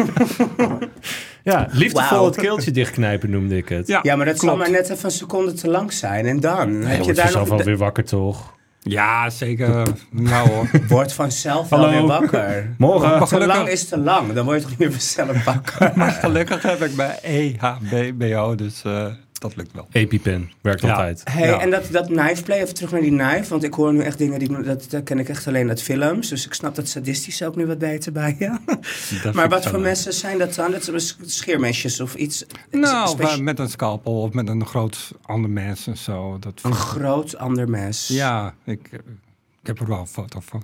S2: ja, liefdevol
S3: Wauw.
S2: het keeltje dichtknijpen noemde ik het.
S1: Ja,
S3: Ja, maar dat zal
S1: klopt.
S3: maar net even een seconde te lang zijn. En dan
S2: Nee,
S3: heb je
S2: word je
S3: daar
S2: zelf
S3: nog...
S2: alweer wakker toch?
S1: Ja, zeker. nou hoor.
S3: Word vanzelf wel
S2: Hallo.
S3: weer wakker.
S2: Morgen.
S3: Te
S1: gelukkig-
S3: lang is te lang, dan word je toch niet meer vanzelf wakker.
S1: Maar gelukkig heb ik E mijn EHBBO, dus eh, dat lukt wel.
S2: EpiPen werkt
S1: Ja.
S2: altijd.
S3: Hey,
S1: Ja.
S3: En dat, dat knife play, even terug naar die knife. Want ik hoor nu echt dingen, die ik, dat, dat ken ik echt alleen uit films. Dus ik snap dat sadistische ook nu wat beter bij je. maar wat voor mensen zijn dat dan? Dat zijn scheermesjes of iets?
S1: Nou,
S3: Speci-
S1: maar met een scalpel of met een groot ander mes en zo. Dat
S3: een groot ander mes.
S1: Ja, ik, ik heb er wel een foto van.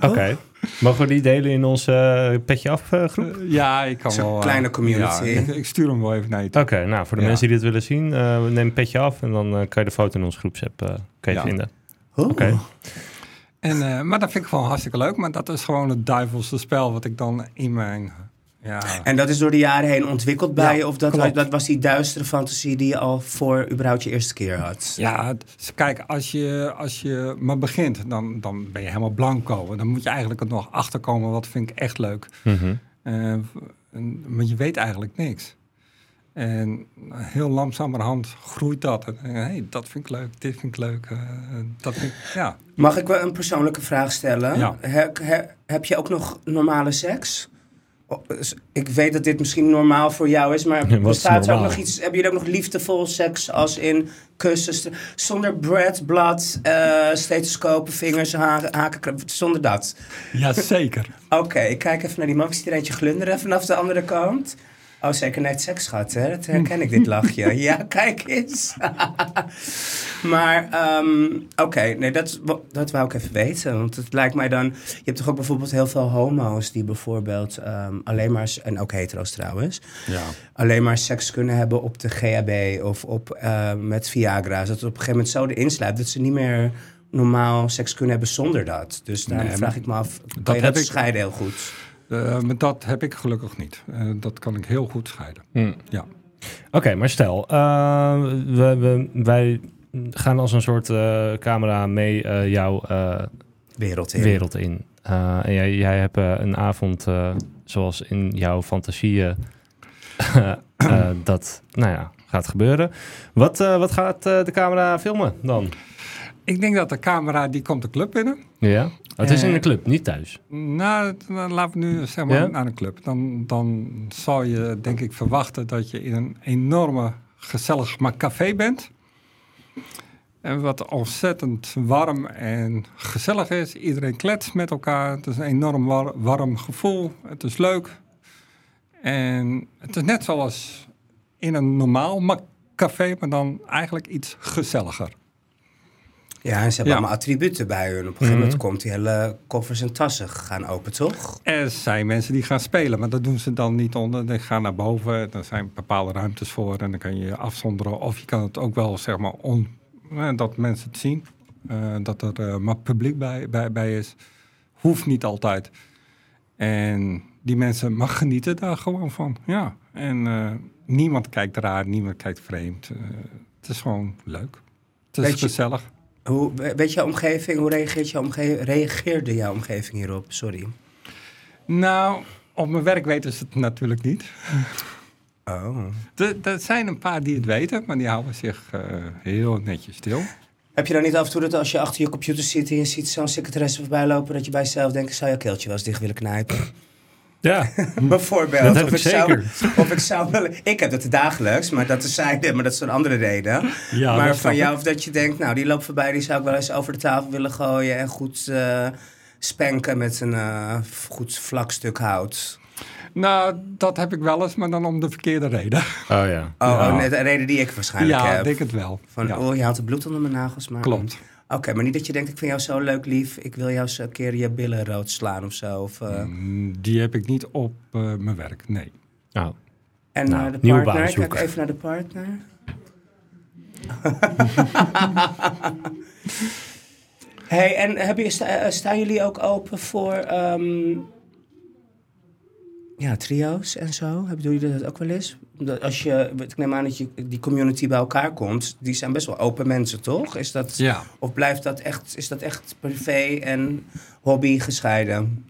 S2: Oké. Mogen we die delen in onze eh, petje af eh, groep?
S1: Eh, ja, ik kan
S3: Zo'n
S1: wel... eh,
S3: kleine community.
S1: ja, ik, ik stuur hem wel even naar je
S2: Oké,
S1: toe.
S2: nou voor de
S1: Eh, Ja.
S2: mensen die dit willen zien, eh neem een petje af en dan eh, kan je de foto in onze groepsapp eh, kan je
S1: Ja.
S2: vinden.
S3: Oh.
S2: Oké.
S1: En, eh, maar dat vind ik gewoon hartstikke leuk. Maar dat is gewoon het duivelse spel wat ik dan in mijn... Ja,
S3: En dat is door de jaren heen ontwikkeld bij
S1: Ja,
S3: je? Of dat,
S1: klopt.
S3: dat was die duistere fantasie die je al voor überhaupt je eerste keer had?
S1: ja het- kijk, als je, als je maar begint, dan, dan ben je helemaal blanco. En dan moet je eigenlijk er nog achterkomen, wat vind ik echt leuk.
S2: Mhm.
S1: Eh, en- maar je weet eigenlijk niks. En heel langzamerhand groeit dat. En, eh, hey, dat vind ik leuk, dit vind ik leuk. eh, dat vind ik, ja.
S3: Mag ik wel een persoonlijke vraag stellen?
S1: Ja.
S3: He- he- heb je ook nog normale seks? O, is- Ik weet dat dit misschien normaal voor jou is, maar
S2: Wat is
S3: bestaat er ook
S2: normaal?
S3: nog iets? Heb je ook nog liefdevol seks als in kussen, st- zonder bread, blad, eh stethoscopen, vingers, ha- haken, zonder dat?
S1: Jazeker.
S3: Oké, ik kijk even naar die man. Ik zie er eentje glunderen vanaf de andere kant. Oh, zeker net seks gehad, hè?
S1: Hm.
S3: Dat herken ik, dit lachje. Ja, kijk eens. maar, ehm, oké, nee, dat, wa- dat wou ik even weten. Want het lijkt mij dan... Je hebt toch ook bijvoorbeeld heel veel homo's die bijvoorbeeld ehm, alleen maar... s- En ook hetero's trouwens.
S1: Ja.
S3: Alleen maar seks kunnen hebben op de GHB of op, eh, met Viagra's. Dat het op een gegeven moment zo erin sluipt dat ze niet meer normaal seks kunnen hebben zonder dat. Dus daarom
S1: Nee,
S3: vraag
S1: maar
S3: ik me af, kan
S1: dat
S3: je dat
S1: heb ik-
S3: scheiden heel goed?
S1: Eh, maar dat heb ik gelukkig niet. Eh, dat kan ik heel goed scheiden.
S2: Hmm.
S1: Ja.
S2: Oké, maar stel, eh, we, we- wij gaan als een soort eh, camera mee eh, jouw eh,
S3: wereld in.
S2: wereld in. Eh, en jij, jij hebt eh, een avond eh, zoals in jouw fantasieën eh, dat, nou ja, gaat gebeuren. Wat, eh, wat gaat eh, de camera filmen dan?
S1: Ik denk dat de camera, die komt de club binnen.
S2: Ja, Oh, het is in de
S1: Eh,
S2: club, niet thuis.
S1: Nou, dan laten we nu zeg maar
S2: Ja?
S1: naar de club. Dan, dan zal je denk ik verwachten dat je in een enorme gezellig maar café bent. En wat ontzettend warm en gezellig is. Iedereen kletst met elkaar. Het is een enorm war- warm gevoel. Het is leuk. En het is net zoals in een normaal ma- café, maar dan eigenlijk iets gezelliger.
S3: Ja, en ze hebben
S1: Ja.
S3: allemaal attributen bij hun. Op een gegeven moment
S2: Mhm.
S3: komt die hele koffers en tassen gaan open, toch?
S1: Er zijn mensen die gaan spelen, maar dat doen ze dan niet onder. Die gaan naar boven, daar zijn bepaalde ruimtes voor en dan kan je je afzonderen. Of je kan het ook wel, zeg maar, on, eh, dat mensen het zien. eh, dat er eh, maar publiek bij, bij, bij is. Hoeft niet altijd. En die mensen mag genieten daar gewoon van. Ja. En eh, niemand kijkt raar, niemand kijkt vreemd. Eh, het is gewoon leuk. Het is
S3: Weet je-
S1: gezellig.
S3: Hoe, we- weet jouw omgeving, hoe reageert jouw omgeving, reageerde jouw omgeving hierop? Sorry.
S1: Nou, op mijn werk weten ze het natuurlijk niet.
S3: Oh.
S1: Er, er zijn een paar die het weten, maar die houden zich eh, heel netjes stil.
S3: Heb je dan niet af en toe dat als je achter je computer zit en je ziet zo'n secretaresse voorbij lopen, dat je bij jezelf denkt, zou je keeltje wel eens dicht willen knijpen?
S2: Ja,
S3: Bijvoorbeeld.
S2: Dat heb
S3: of
S2: ik
S3: Zou, of ik zou wel... Ik heb dat dagelijks, maar dat is zijde, maar dat is een andere reden.
S1: Ja,
S3: maar
S1: Oh, dat
S3: van
S1: snap
S3: jou of dat je denkt, nou, die loopt voorbij, die zou ik wel eens over de tafel willen gooien en goed eh, spanken met een eh, goed vlak stuk hout.
S1: Nou, dat heb ik wel eens, maar dan om de verkeerde reden.
S2: oh ja.
S3: Oh,
S2: Ja.
S3: oh, nee, de reden die ik waarschijnlijk
S1: ja, ik
S3: heb.
S1: denk het wel.
S3: eh, Van,
S1: ja.
S3: oh, je haalt het bloed onder mijn nagels, maar...
S1: Klopt.
S3: Oké, maar niet dat je denkt, ik vind jou zo leuk, lief. Ik wil jou eens een keer je billen rood slaan of zo. Of, eh,
S1: Mm, Die heb ik niet op eh, mijn werk, nee.
S2: Oh.
S3: En
S2: Nou,
S3: naar de
S2: nieuwe baan
S3: partner. Kijk
S2: zoeken.
S3: even naar de partner. hey, en heb je, sta- eh, staan jullie ook open voor ehm, ja, trio's en zo? Hebben jullie dat ook wel eens? Omdat als je, ik neem aan dat je die community bij elkaar komt, die zijn best wel open mensen, toch? Is dat,
S1: Ja.
S3: Of blijft dat echt, is dat echt privé en hobby gescheiden?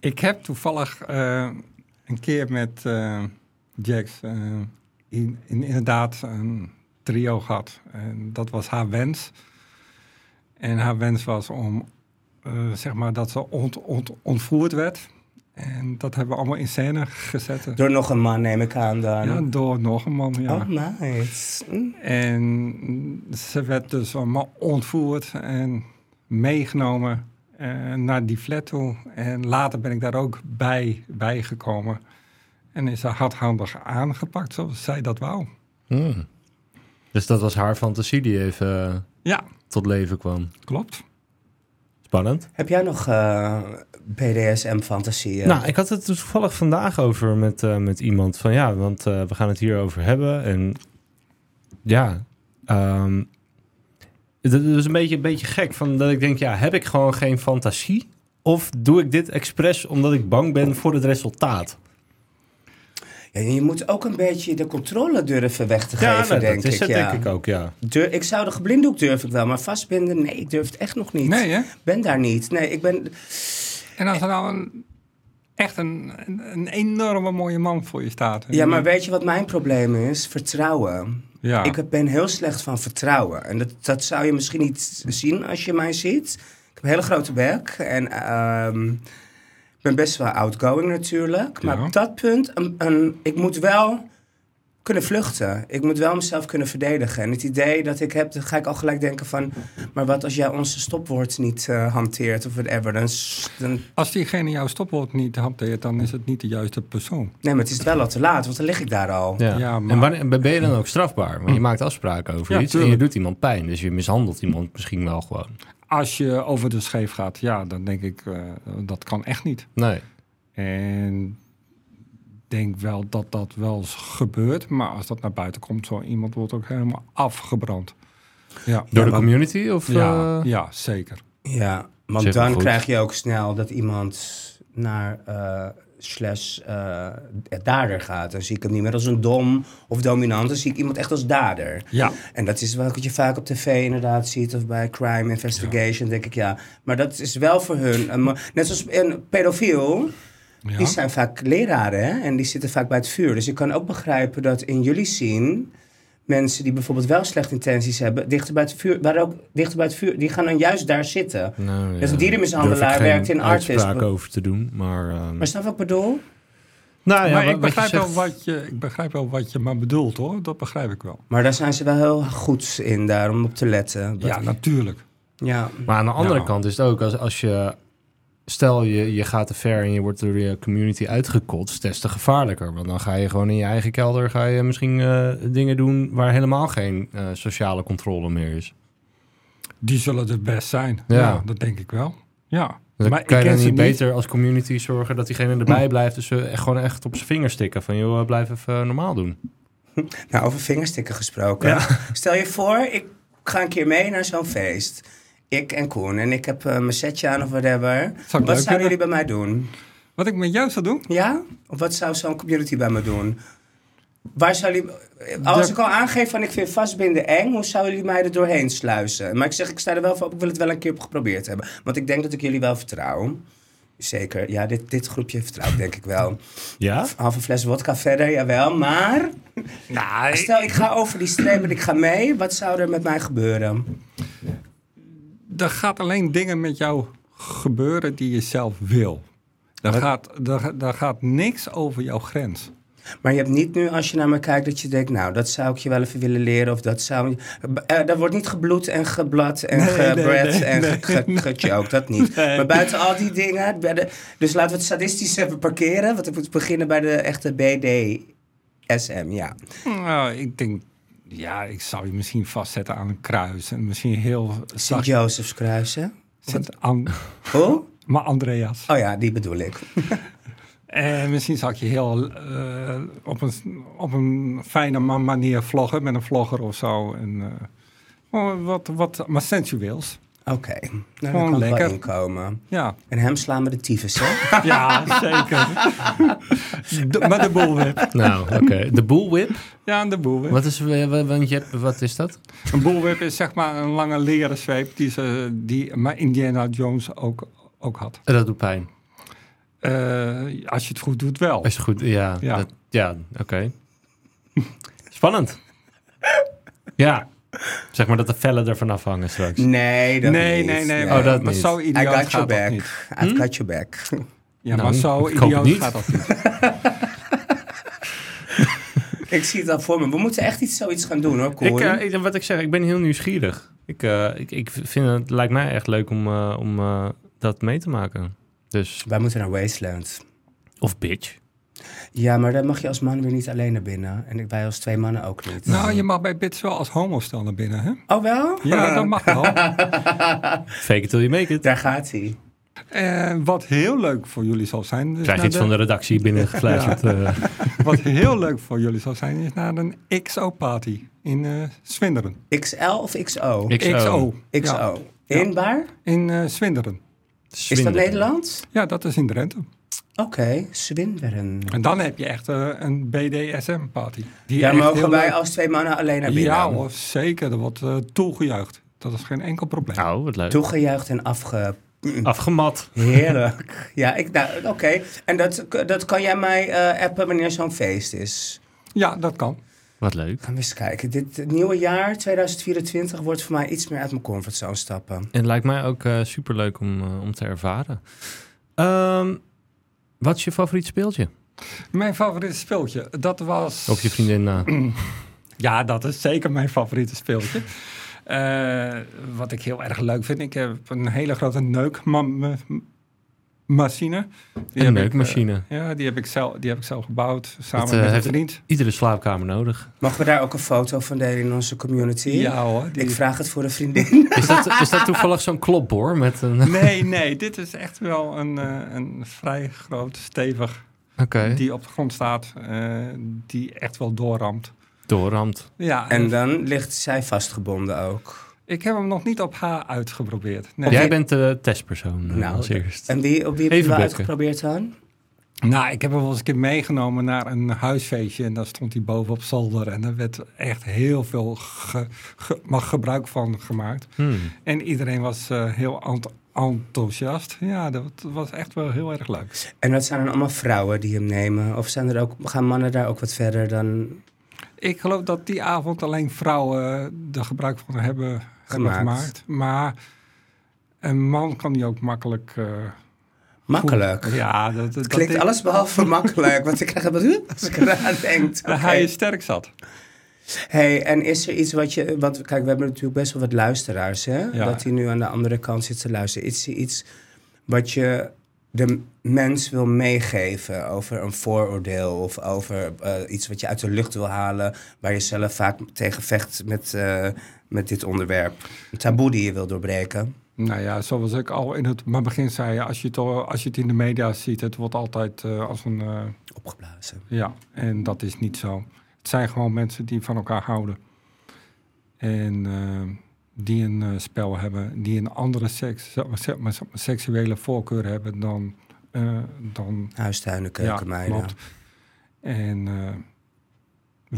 S1: Ik heb toevallig eh, een keer met eh, Jax eh, in, in- inderdaad een trio gehad. En dat was haar wens. En haar wens was om, eh, zeg maar, dat ze ont, ont, ontvoerd werd. En dat hebben we allemaal in scène gezet.
S3: Door nog een man, neem ik aan dan.
S1: Ja, door nog een man, ja.
S3: Oh, nice. Mm.
S1: En ze werd dus allemaal ontvoerd en meegenomen eh, naar die flat toe. En later ben ik daar ook bij, bij gekomen. En is ze hardhandig aangepakt, zoals zij dat wou.
S2: Hmm. Dus dat was haar fantasie die even eh,
S1: Ja,
S2: tot leven kwam.
S1: klopt.
S2: Spannend.
S3: Heb jij nog eh, BDSM-fantasieën?
S2: Nou, ik had het er toevallig vandaag over met, eh, met iemand. Van ja, want eh, we gaan het hierover hebben. En ja, ehm, het het is een beetje, een beetje gek. Van dat ik denk, ja, heb ik gewoon geen fantasie? Of doe ik dit expres omdat ik bang ben voor het resultaat?
S3: Ja, je moet ook een beetje de controle durven weg te geven,
S2: nou,
S3: denk
S2: dat is
S3: ik.
S2: het
S3: ja.
S2: denk ik ook, ja.
S3: Dur- ik zou de geblinddoek durf ik wel, maar vastbinden, nee, ik durf het echt nog niet.
S1: Nee, hè?
S3: ben daar niet. Nee, ik ben...
S1: En als er nou een, echt een, een, een enorme mooie man voor je staat.
S3: Ja, maar weet je wat mijn probleem is? Vertrouwen.
S1: Ja.
S3: Ik ben heel slecht van vertrouwen. En dat, dat zou je misschien niet zien als je mij ziet. Ik heb een hele grote bek en ehm, ik ben best wel outgoing natuurlijk. Maar
S1: Ja.
S3: op dat punt, een, een- ik moet wel kunnen vluchten. Ik moet wel mezelf kunnen verdedigen. En het idee dat ik heb, dan ga ik al gelijk denken van... maar wat als jij onze stopwoord niet eh, hanteert of whatever? Dan, s- dan
S1: Als diegene jouw stopwoord niet hanteert, dan is het niet de juiste persoon.
S3: Nee, maar het is wel al te laat, want dan lig ik daar al.
S2: ja.
S1: Ja, maar-
S2: En wanneer, ben je dan ook strafbaar? Want je maakt afspraken over
S1: Ja,
S2: iets en
S1: tuurlijk.
S2: je doet iemand pijn. Dus je mishandelt iemand misschien wel gewoon.
S1: Als je over de scheef gaat, ja, dan denk ik, eh, dat kan echt niet.
S2: Nee.
S1: En ik denk wel dat dat wel eens gebeurt. Maar als dat naar buiten komt, zo iemand wordt ook helemaal afgebrand. Ja,
S2: Door
S3: Ja,
S2: de
S3: maar-
S2: community? Of,
S1: ja,
S2: eh,
S1: ja zeker.
S3: Ja, want
S2: Zeg maar
S3: dan
S2: goed.
S3: krijg je ook snel dat iemand naar eh, slash eh, dader gaat. Dan zie ik hem niet meer als een dom of dominant, dan zie ik iemand echt als dader.
S1: Ja,
S3: En dat is wat je vaak op tv inderdaad ziet of bij crime investigation, denk ik ja. Maar dat is wel voor hun, een mo- net zoals een pedofiel,
S1: ja.
S3: die zijn vaak leraren hè? en die zitten vaak bij het vuur. Dus ik kan ook begrijpen dat in jullie zien mensen die bijvoorbeeld wel slechte intenties hebben, dichter bij het vuur, waar ook dichter bij het vuur, die gaan dan juist daar zitten.
S2: Nou, ja,
S3: Dus een dierenmishandelaar
S2: durf ik geen
S3: werkt in Artis.
S2: uitspraak over te doen, maar... ehm,
S3: Maar snap je wat ik bedoel?
S2: nou
S1: maar
S2: wat-
S1: ik,
S2: wat
S1: begrijp
S2: je
S1: wel
S2: zegt-
S1: wat je, ik begrijp wel wat je maar bedoelt, hoor. Dat begrijp ik wel.
S3: Maar daar zijn ze wel heel goed in, daar om op te letten.
S1: Ja, natuurlijk.
S3: ja.
S2: Maar aan de andere
S1: Ja.
S2: kant is het ook, als, als je... Stel, je, je gaat te ver en je wordt door je community uitgekotst, des te gevaarlijker. Want dan ga je gewoon in je eigen kelder ga je misschien eh, dingen doen waar helemaal geen eh, sociale controle meer is.
S1: Die zullen het best zijn.
S2: Ja.
S1: Ja, dat denk ik wel. Ja.
S2: Dan kan
S1: maar ik
S2: je
S1: ken
S2: dan
S1: ze
S2: niet
S1: niet.
S2: beter als community zorgen dat diegene erbij blijft. Dus eh, echt gewoon echt op zijn vingers stikken. Van joh, eh, blijf even eh, normaal doen.
S3: Nou, over vingerstikken gesproken. Stel je voor, ik ga een keer mee naar zo'n feest. Ik en Koen. En ik heb eh, mijn setje aan of whatever.
S1: leuk
S3: Wat zouden
S1: vinden.
S3: jullie bij mij doen?
S1: Wat ik met jou zou doen?
S3: Ja? Of wat zou zo'n community bij me doen? Waar zou jullie... Als
S1: Dat-
S3: ik al aangeef van ik vind vastbinden eng, hoe zouden jullie mij er doorheen sluizen? Maar ik zeg, ik sta er wel voor op, ik wil het wel een keer geprobeerd hebben. Want ik denk dat ik jullie wel vertrouw. Zeker, ja, dit, dit groepje vertrouwt denk ik wel.
S2: Ja?
S3: Half een fles wodka verder, jawel. Maar stel, ik ga over die streep en ik ga mee. Wat zou er met mij gebeuren?
S1: er gaat alleen dingen met jou gebeuren die je zelf wil. Daar gaat, daar, daar gaat niks over jouw grens.
S3: Maar je hebt niet nu, als je naar me kijkt, dat je denkt... nou, dat zou ik je wel even willen leren. Of dat zou... Eh, daar wordt niet gebloed en geblad en
S1: Nee, nee,
S3: gebred
S1: nee,
S3: en
S1: nee,
S3: ge- ge- gejoked. Dat niet.
S1: Nee.
S3: Maar buiten al die dingen... bij de- Dus laten we het sadistisch even parkeren. Want we moeten beginnen bij de echte BDSM, ja.
S1: Nou, ik denk, ja, ik zou je misschien vastzetten aan een kruis. En misschien heel
S3: sint
S1: zacht.
S3: Joseph's kruisen.
S1: Sint An-
S3: Oh?
S1: maar Andreas.
S3: Oh ja, die bedoel ik.
S1: En misschien zou ik je heel eh, op, een, op een fijne ma- manier vloggen. Met een vlogger of zo. En, eh, gewoon wat, wat, maar sensueels.
S3: Oké. Nou, daar
S1: Gewoon
S3: kan ik wel
S1: lekker.
S3: inkomen.
S1: Ja,
S3: En hem slaan we de tyfus, hè?
S1: ja zeker. De- maar de boelwip.
S2: Nou, oké. De bullwhip.
S1: Ja, de boelwip.
S2: Wat is, eh, wa- want je hebt, wat is dat?
S1: Een bullwhip is zeg maar een lange leren zweep die, ze, die maar Indiana Jones ook, ook had.
S2: Eh, Dat doet pijn.
S1: Eh, als je het goed doet wel.
S2: Is goed, ja.
S1: Ja.
S2: dat- ja, oké. Spannend. ja, Zeg maar dat de vellen ervan afhangen straks.
S3: Nee, dat
S1: nee,
S3: niet.
S1: nee, nee,
S2: Oh, dat
S1: maar
S2: niet.
S1: zo
S3: I
S1: idioot
S3: got your
S1: gaat dat
S3: back.
S1: niet. Hm?
S3: I've got your back.
S1: Ja,
S2: Nou,
S1: maar zo
S2: ik hoop het
S1: idioot
S2: niet.
S1: gaat dat niet.
S3: ik zie het al voor me. We moeten echt iets, zoiets gaan doen hoor,
S2: Ik,
S3: Koen.
S2: eh, ik- wat ik zeg, ik ben heel nieuwsgierig. Ik, eh, ik, ik vind het, het lijkt mij echt leuk om, eh, om eh, dat mee te maken. Dus,
S3: Wij moeten naar Wasteland.
S2: of bitch.
S3: Ja, maar dan mag je als man weer niet alleen naar binnen. En wij als twee mannen ook niet.
S1: Nou, je mag bij Bits wel als homostel naar binnen, hè?
S3: Oh wel?
S1: Ja, dat mag wel.
S2: Fake it till you make it.
S3: Daar gaat hij.
S1: En Eh, wat heel leuk voor jullie zal zijn... is
S2: Krijg je
S1: naar
S2: iets van de redactie binnengefluisterd. eh.
S1: Wat heel leuk voor jullie zal zijn, is naar een XO-party in eh Swinderen.
S3: XL of XO?
S2: Ik- XO.
S1: Ja,
S3: XO. In waar?
S1: in eh Swinderen.
S3: Is dat
S2: Zwinderen.
S3: Nederland?
S1: Ja, dat is in Drenthe.
S3: Oké, Swinderen.
S1: En dan heb je echt eh, een BDSM-party. Die
S3: Daar
S1: echt
S3: mogen
S1: heel
S3: wij
S1: leuk-
S3: als twee mannen alleen naar binnen.
S1: Ja hoor, zeker. Er wordt eh, toegejuicht. Dat is geen enkel probleem.
S2: Nou, wat leuk.
S3: Toegejuicht en afge...
S2: Afgemat.
S3: Heerlijk. ja, ik- nou, oké. En dat, dat kan jij mij eh, appen wanneer zo'n feest is.
S1: Ja, dat kan.
S2: Wat leuk.
S3: Gaan we eens kijken. Dit het nieuwe jaar, 2024, wordt voor mij iets meer uit mijn comfortzone stappen.
S2: En het lijkt mij ook super superleuk om, eh, om te ervaren. Ehm, wat is je favoriet speeltje?
S1: Mijn favoriete speeltje, dat was...
S2: Op je vriendin eh, na.
S1: Ja, dat is zeker mijn favoriete speeltje. Eh, wat ik heel erg leuk vind, ik heb een hele grote neukmachine.
S3: eh,
S2: Een neukmachine.
S1: eh, Ja, die heb ik zelf, die heb ik zelf gebouwd samen
S2: Dat, eh,
S1: met
S2: heeft-
S1: een vriend.
S2: Iedere slaapkamer nodig.
S3: Mogen we daar ook een foto van delen in onze community?
S1: Ja hoor. die-
S3: Ik vraag het voor een vriendin.
S2: Is dat, is dat toevallig zo'n klopboor met een... Oké.
S1: Nee, nee, dit is echt wel een, eh, een vrij groot, stevig die op de grond staat, eh, die echt wel doorramt.
S2: Doorramt.
S1: Ja,
S3: En dan ligt zij vastgebonden ook.
S1: ik heb hem nog niet op haar uitgeprobeerd. Nee.
S3: Op
S2: Jij
S3: je-
S2: bent de testpersoon eh, als
S3: dat-
S2: eerst.
S3: En wie, op wie heb
S2: Even
S3: je wel
S2: bukken.
S3: uitgeprobeerd dan?
S1: Nou, ik heb hem wel eens een keer meegenomen naar een huisfeestje. En daar stond hij boven op zolder. En daar werd echt heel veel ge- ge- maar gebruik van gemaakt.
S2: Hmm.
S1: En iedereen was eh, heel ent- enthousiast. Ja, dat was echt wel heel erg leuk.
S3: En dat zijn dan allemaal vrouwen die hem nemen? Of zijn er ook, gaan mannen daar ook wat verder dan...
S1: Ik geloof dat die avond alleen vrouwen eh, er gebruik van hebben hebben
S3: Gemaakt.
S1: gemaakt. Maar een man kan die ook makkelijk... eh,
S3: Makkelijk.
S1: ja, dat, dat,
S3: Het klinkt
S1: dat-
S3: alles behalve makkelijk, want ik krijg het wat als ik eraan denk.
S1: dat
S3: Oké.
S1: hij je sterk zat.
S3: Hey, en is er iets wat je. Wat, kijk, we hebben natuurlijk best wel wat luisteraars, hè?
S1: Ja.
S3: Dat die nu aan de andere kant zitten te luisteren. Is er iets wat je de mens wil meegeven over een vooroordeel of over eh, iets wat je uit de lucht wil halen, waar je zelf vaak tegen vecht met, eh, met dit onderwerp? Een taboe die je wil doorbreken.
S1: Nou ja, zoals ik al in het maar begin zei, als je, het, al- als je het in de media ziet, het wordt altijd eh, als een. eh,
S3: Opgeblazen.
S1: ja, en dat is niet zo. Het zijn gewoon mensen die van elkaar houden. En eh, die een eh, spel hebben, die een andere seks, zeg maar, zeg maar, zeg maar, seksuele voorkeur hebben dan. eh, dan
S3: Huistuinen,
S1: ja,
S3: keukenmeiden.
S1: klopt. En eh,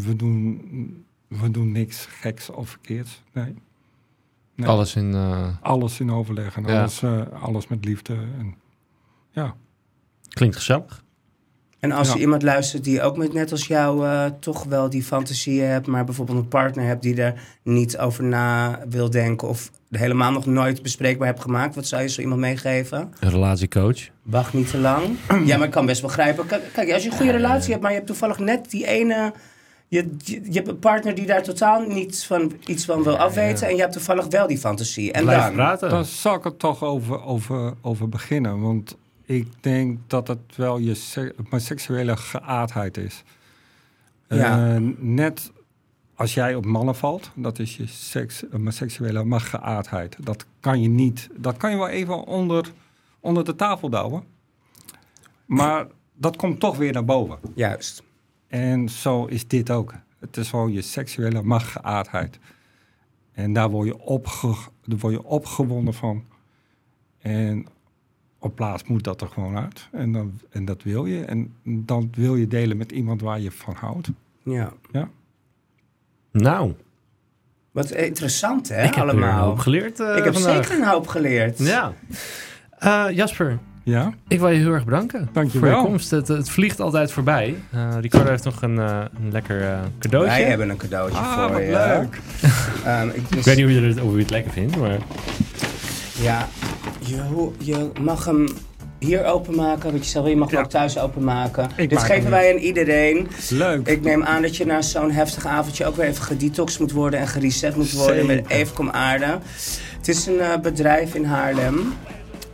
S1: we, doen, we doen niks geks of verkeerds. Nee. Nee.
S2: Alles in... eh,
S1: alles in overleg en
S2: Ja.
S1: alles, eh, alles met liefde. En, ja.
S2: Klinkt gezellig.
S3: En als er
S1: Ja.
S3: iemand luistert die ook met net als jou eh, toch wel die fantasieën hebt, maar bijvoorbeeld een partner hebt die er niet over na wil denken of helemaal nog nooit bespreekbaar hebt gemaakt, wat zou je zo iemand meegeven?
S2: Een relatiecoach.
S3: Wacht niet te lang. Ja, maar ik kan best begrijpen. Kijk, kijk, als je een goede relatie hebt, maar je hebt toevallig net die ene. Je, je, je hebt een partner die daar totaal niets van, iets van wil afweten. En je hebt toevallig wel die fantasie. En
S2: Blijf
S3: dan.
S2: praten.
S1: Daar zal ik het toch over, over, over beginnen. Want ik denk dat het wel je se- mijn seksuele geaardheid is.
S3: Ja.
S1: Eh, net als jij op mannen valt, dat is je seks, eh, mijn seksuele maar geaardheid. Dat kan je niet. Dat kan je wel even onder, onder de tafel douwen. Maar dat komt toch weer naar boven.
S3: Juist.
S1: En zo is dit ook. Het is gewoon je seksuele machtgeaardheid. En daar word je, opge daar word je opgewonden van. En op plaats moet dat er gewoon uit. En, dan, en dat wil je. En dan wil je delen met iemand waar je van houdt.
S3: Ja.
S2: Nou,
S3: Wat interessant,
S2: ik
S3: hè?
S2: heb er een
S3: allemaal.
S2: hoop geleerd eh,
S3: ik heb
S2: vandaag.
S3: zeker een hoop geleerd.
S2: Ja. Eh, Jasper,
S1: Ja?
S2: Ik wil je heel erg bedanken
S1: Dankjewel.
S2: voor je komst. Het, het vliegt altijd voorbij. Eh, Ricardo heeft nog een, eh, een lekker eh, cadeautje.
S3: Wij hebben een cadeautje
S1: Ah,
S3: voor
S1: wat
S3: je.
S1: leuk.
S3: Ehm, ik, dus-
S2: Ik weet niet hoe je, het, hoe je het lekker vindt, maar...
S3: Ja, je, ho- je mag hem hier openmaken, weet je zelf, je mag hem
S1: Ja.
S3: ook thuis openmaken. Dit
S1: maak
S3: geven
S1: hem
S3: wij aan iedereen.
S1: Leuk.
S3: Ik neem aan dat je na zo'n heftig avondje ook weer even gedetoxed moet worden en gereset moet worden met
S1: Zeker.
S3: Eefkom Aarde. Het is een eh, bedrijf in Haarlem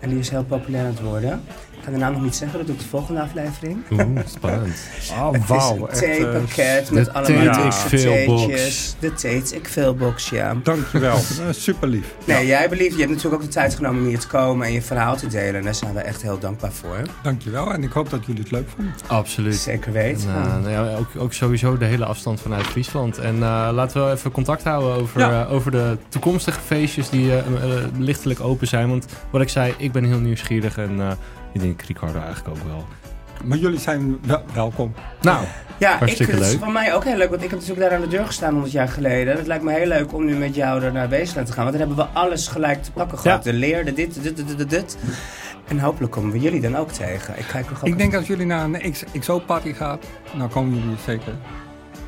S3: en die is heel populair aan het worden. Ik kan de naam nog niet zeggen, dat doe ik de volgende aflevering.
S2: Oeh, spannend.
S1: oh, wauw.
S3: het is
S1: echt,
S3: een
S1: eh,
S3: theepakket
S2: de
S3: met allemaal
S1: Tate
S3: ja.
S2: XVL-box.
S3: theetjes. De Tate XVL-box, ja.
S1: Dankjewel. Eh, Super lief.
S3: Nee, jij belief, je hebt natuurlijk ook de tijd genomen om hier te komen en je verhaal te delen. En daar zijn we echt heel dankbaar voor.
S1: Dankjewel. En ik hoop dat jullie het leuk vonden.
S2: Absoluut.
S3: Zeker
S2: En,
S3: weten.
S2: eh, nou ja, ook, ook sowieso de hele afstand vanuit Friesland. En eh, laten we wel even contact houden over,
S1: Ja.
S2: eh, over de toekomstige feestjes die eh, eh, lichtelijk open zijn. Want wat ik zei, ik ben heel nieuwsgierig en eh, ik denk Ricardo eigenlijk ook wel.
S1: Maar jullie zijn wel- welkom.
S2: Nou,
S3: ja, ik
S2: hartstikke
S3: vind het
S2: leuk.
S3: voor mij ook heel leuk, want ik heb natuurlijk daar aan de deur gestaan 100 jaar geleden. Het lijkt me heel leuk om nu met jou er naar Weesland te gaan, want dan hebben we alles gelijk te pakken gehad. De leer, de dit, de dit, de dit, de dit. En hopelijk komen we jullie dan ook tegen. Ik kijk er gewoon
S1: Ik denk als jullie naar een XO-party gaat, dan komen jullie zeker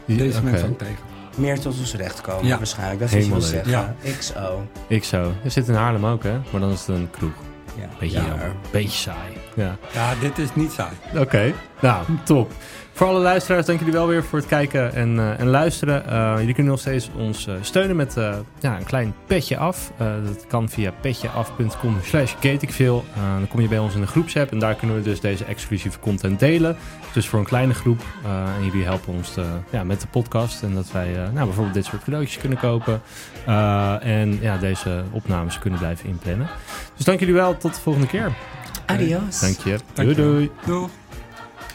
S1: deze
S2: oké.
S1: mensen ook tegen.
S3: meer tot ons recht komen
S1: Ja.
S3: waarschijnlijk. Dat is wat je wil
S2: Helemaal
S3: zeggen.
S1: leuk.
S3: XO.
S2: Ik zo. Je zit in Haarlem ook, hè? Maar dan is het een kroeg.
S3: Ja.
S2: Beetje
S3: Ja.
S2: jammer. Beetje saai. Ja.
S1: Ja, dit is niet saai.
S2: Oké. Nou, top. Voor alle luisteraars, dank jullie wel weer voor het kijken en, eh, en luisteren. Eh, jullie kunnen nog steeds ons eh, steunen met eh, ja, een klein petje af. Eh, dat kan via petjeaf.com slash gateikveel. Eh, dan kom je bij ons in de groepsapp en daar kunnen we dus deze exclusieve content delen. Dus voor een kleine groep. eh, en jullie helpen ons te- ja, met de podcast. En dat wij eh, nou, bijvoorbeeld dit soort cadeautjes kunnen kopen. Eh, en ja, deze opnames kunnen blijven inplannen. Dus dank jullie wel. Tot de volgende keer.
S3: Adios.
S2: Dank je.
S1: Dank je
S2: doei
S1: wel.
S2: doei.
S1: Doeg.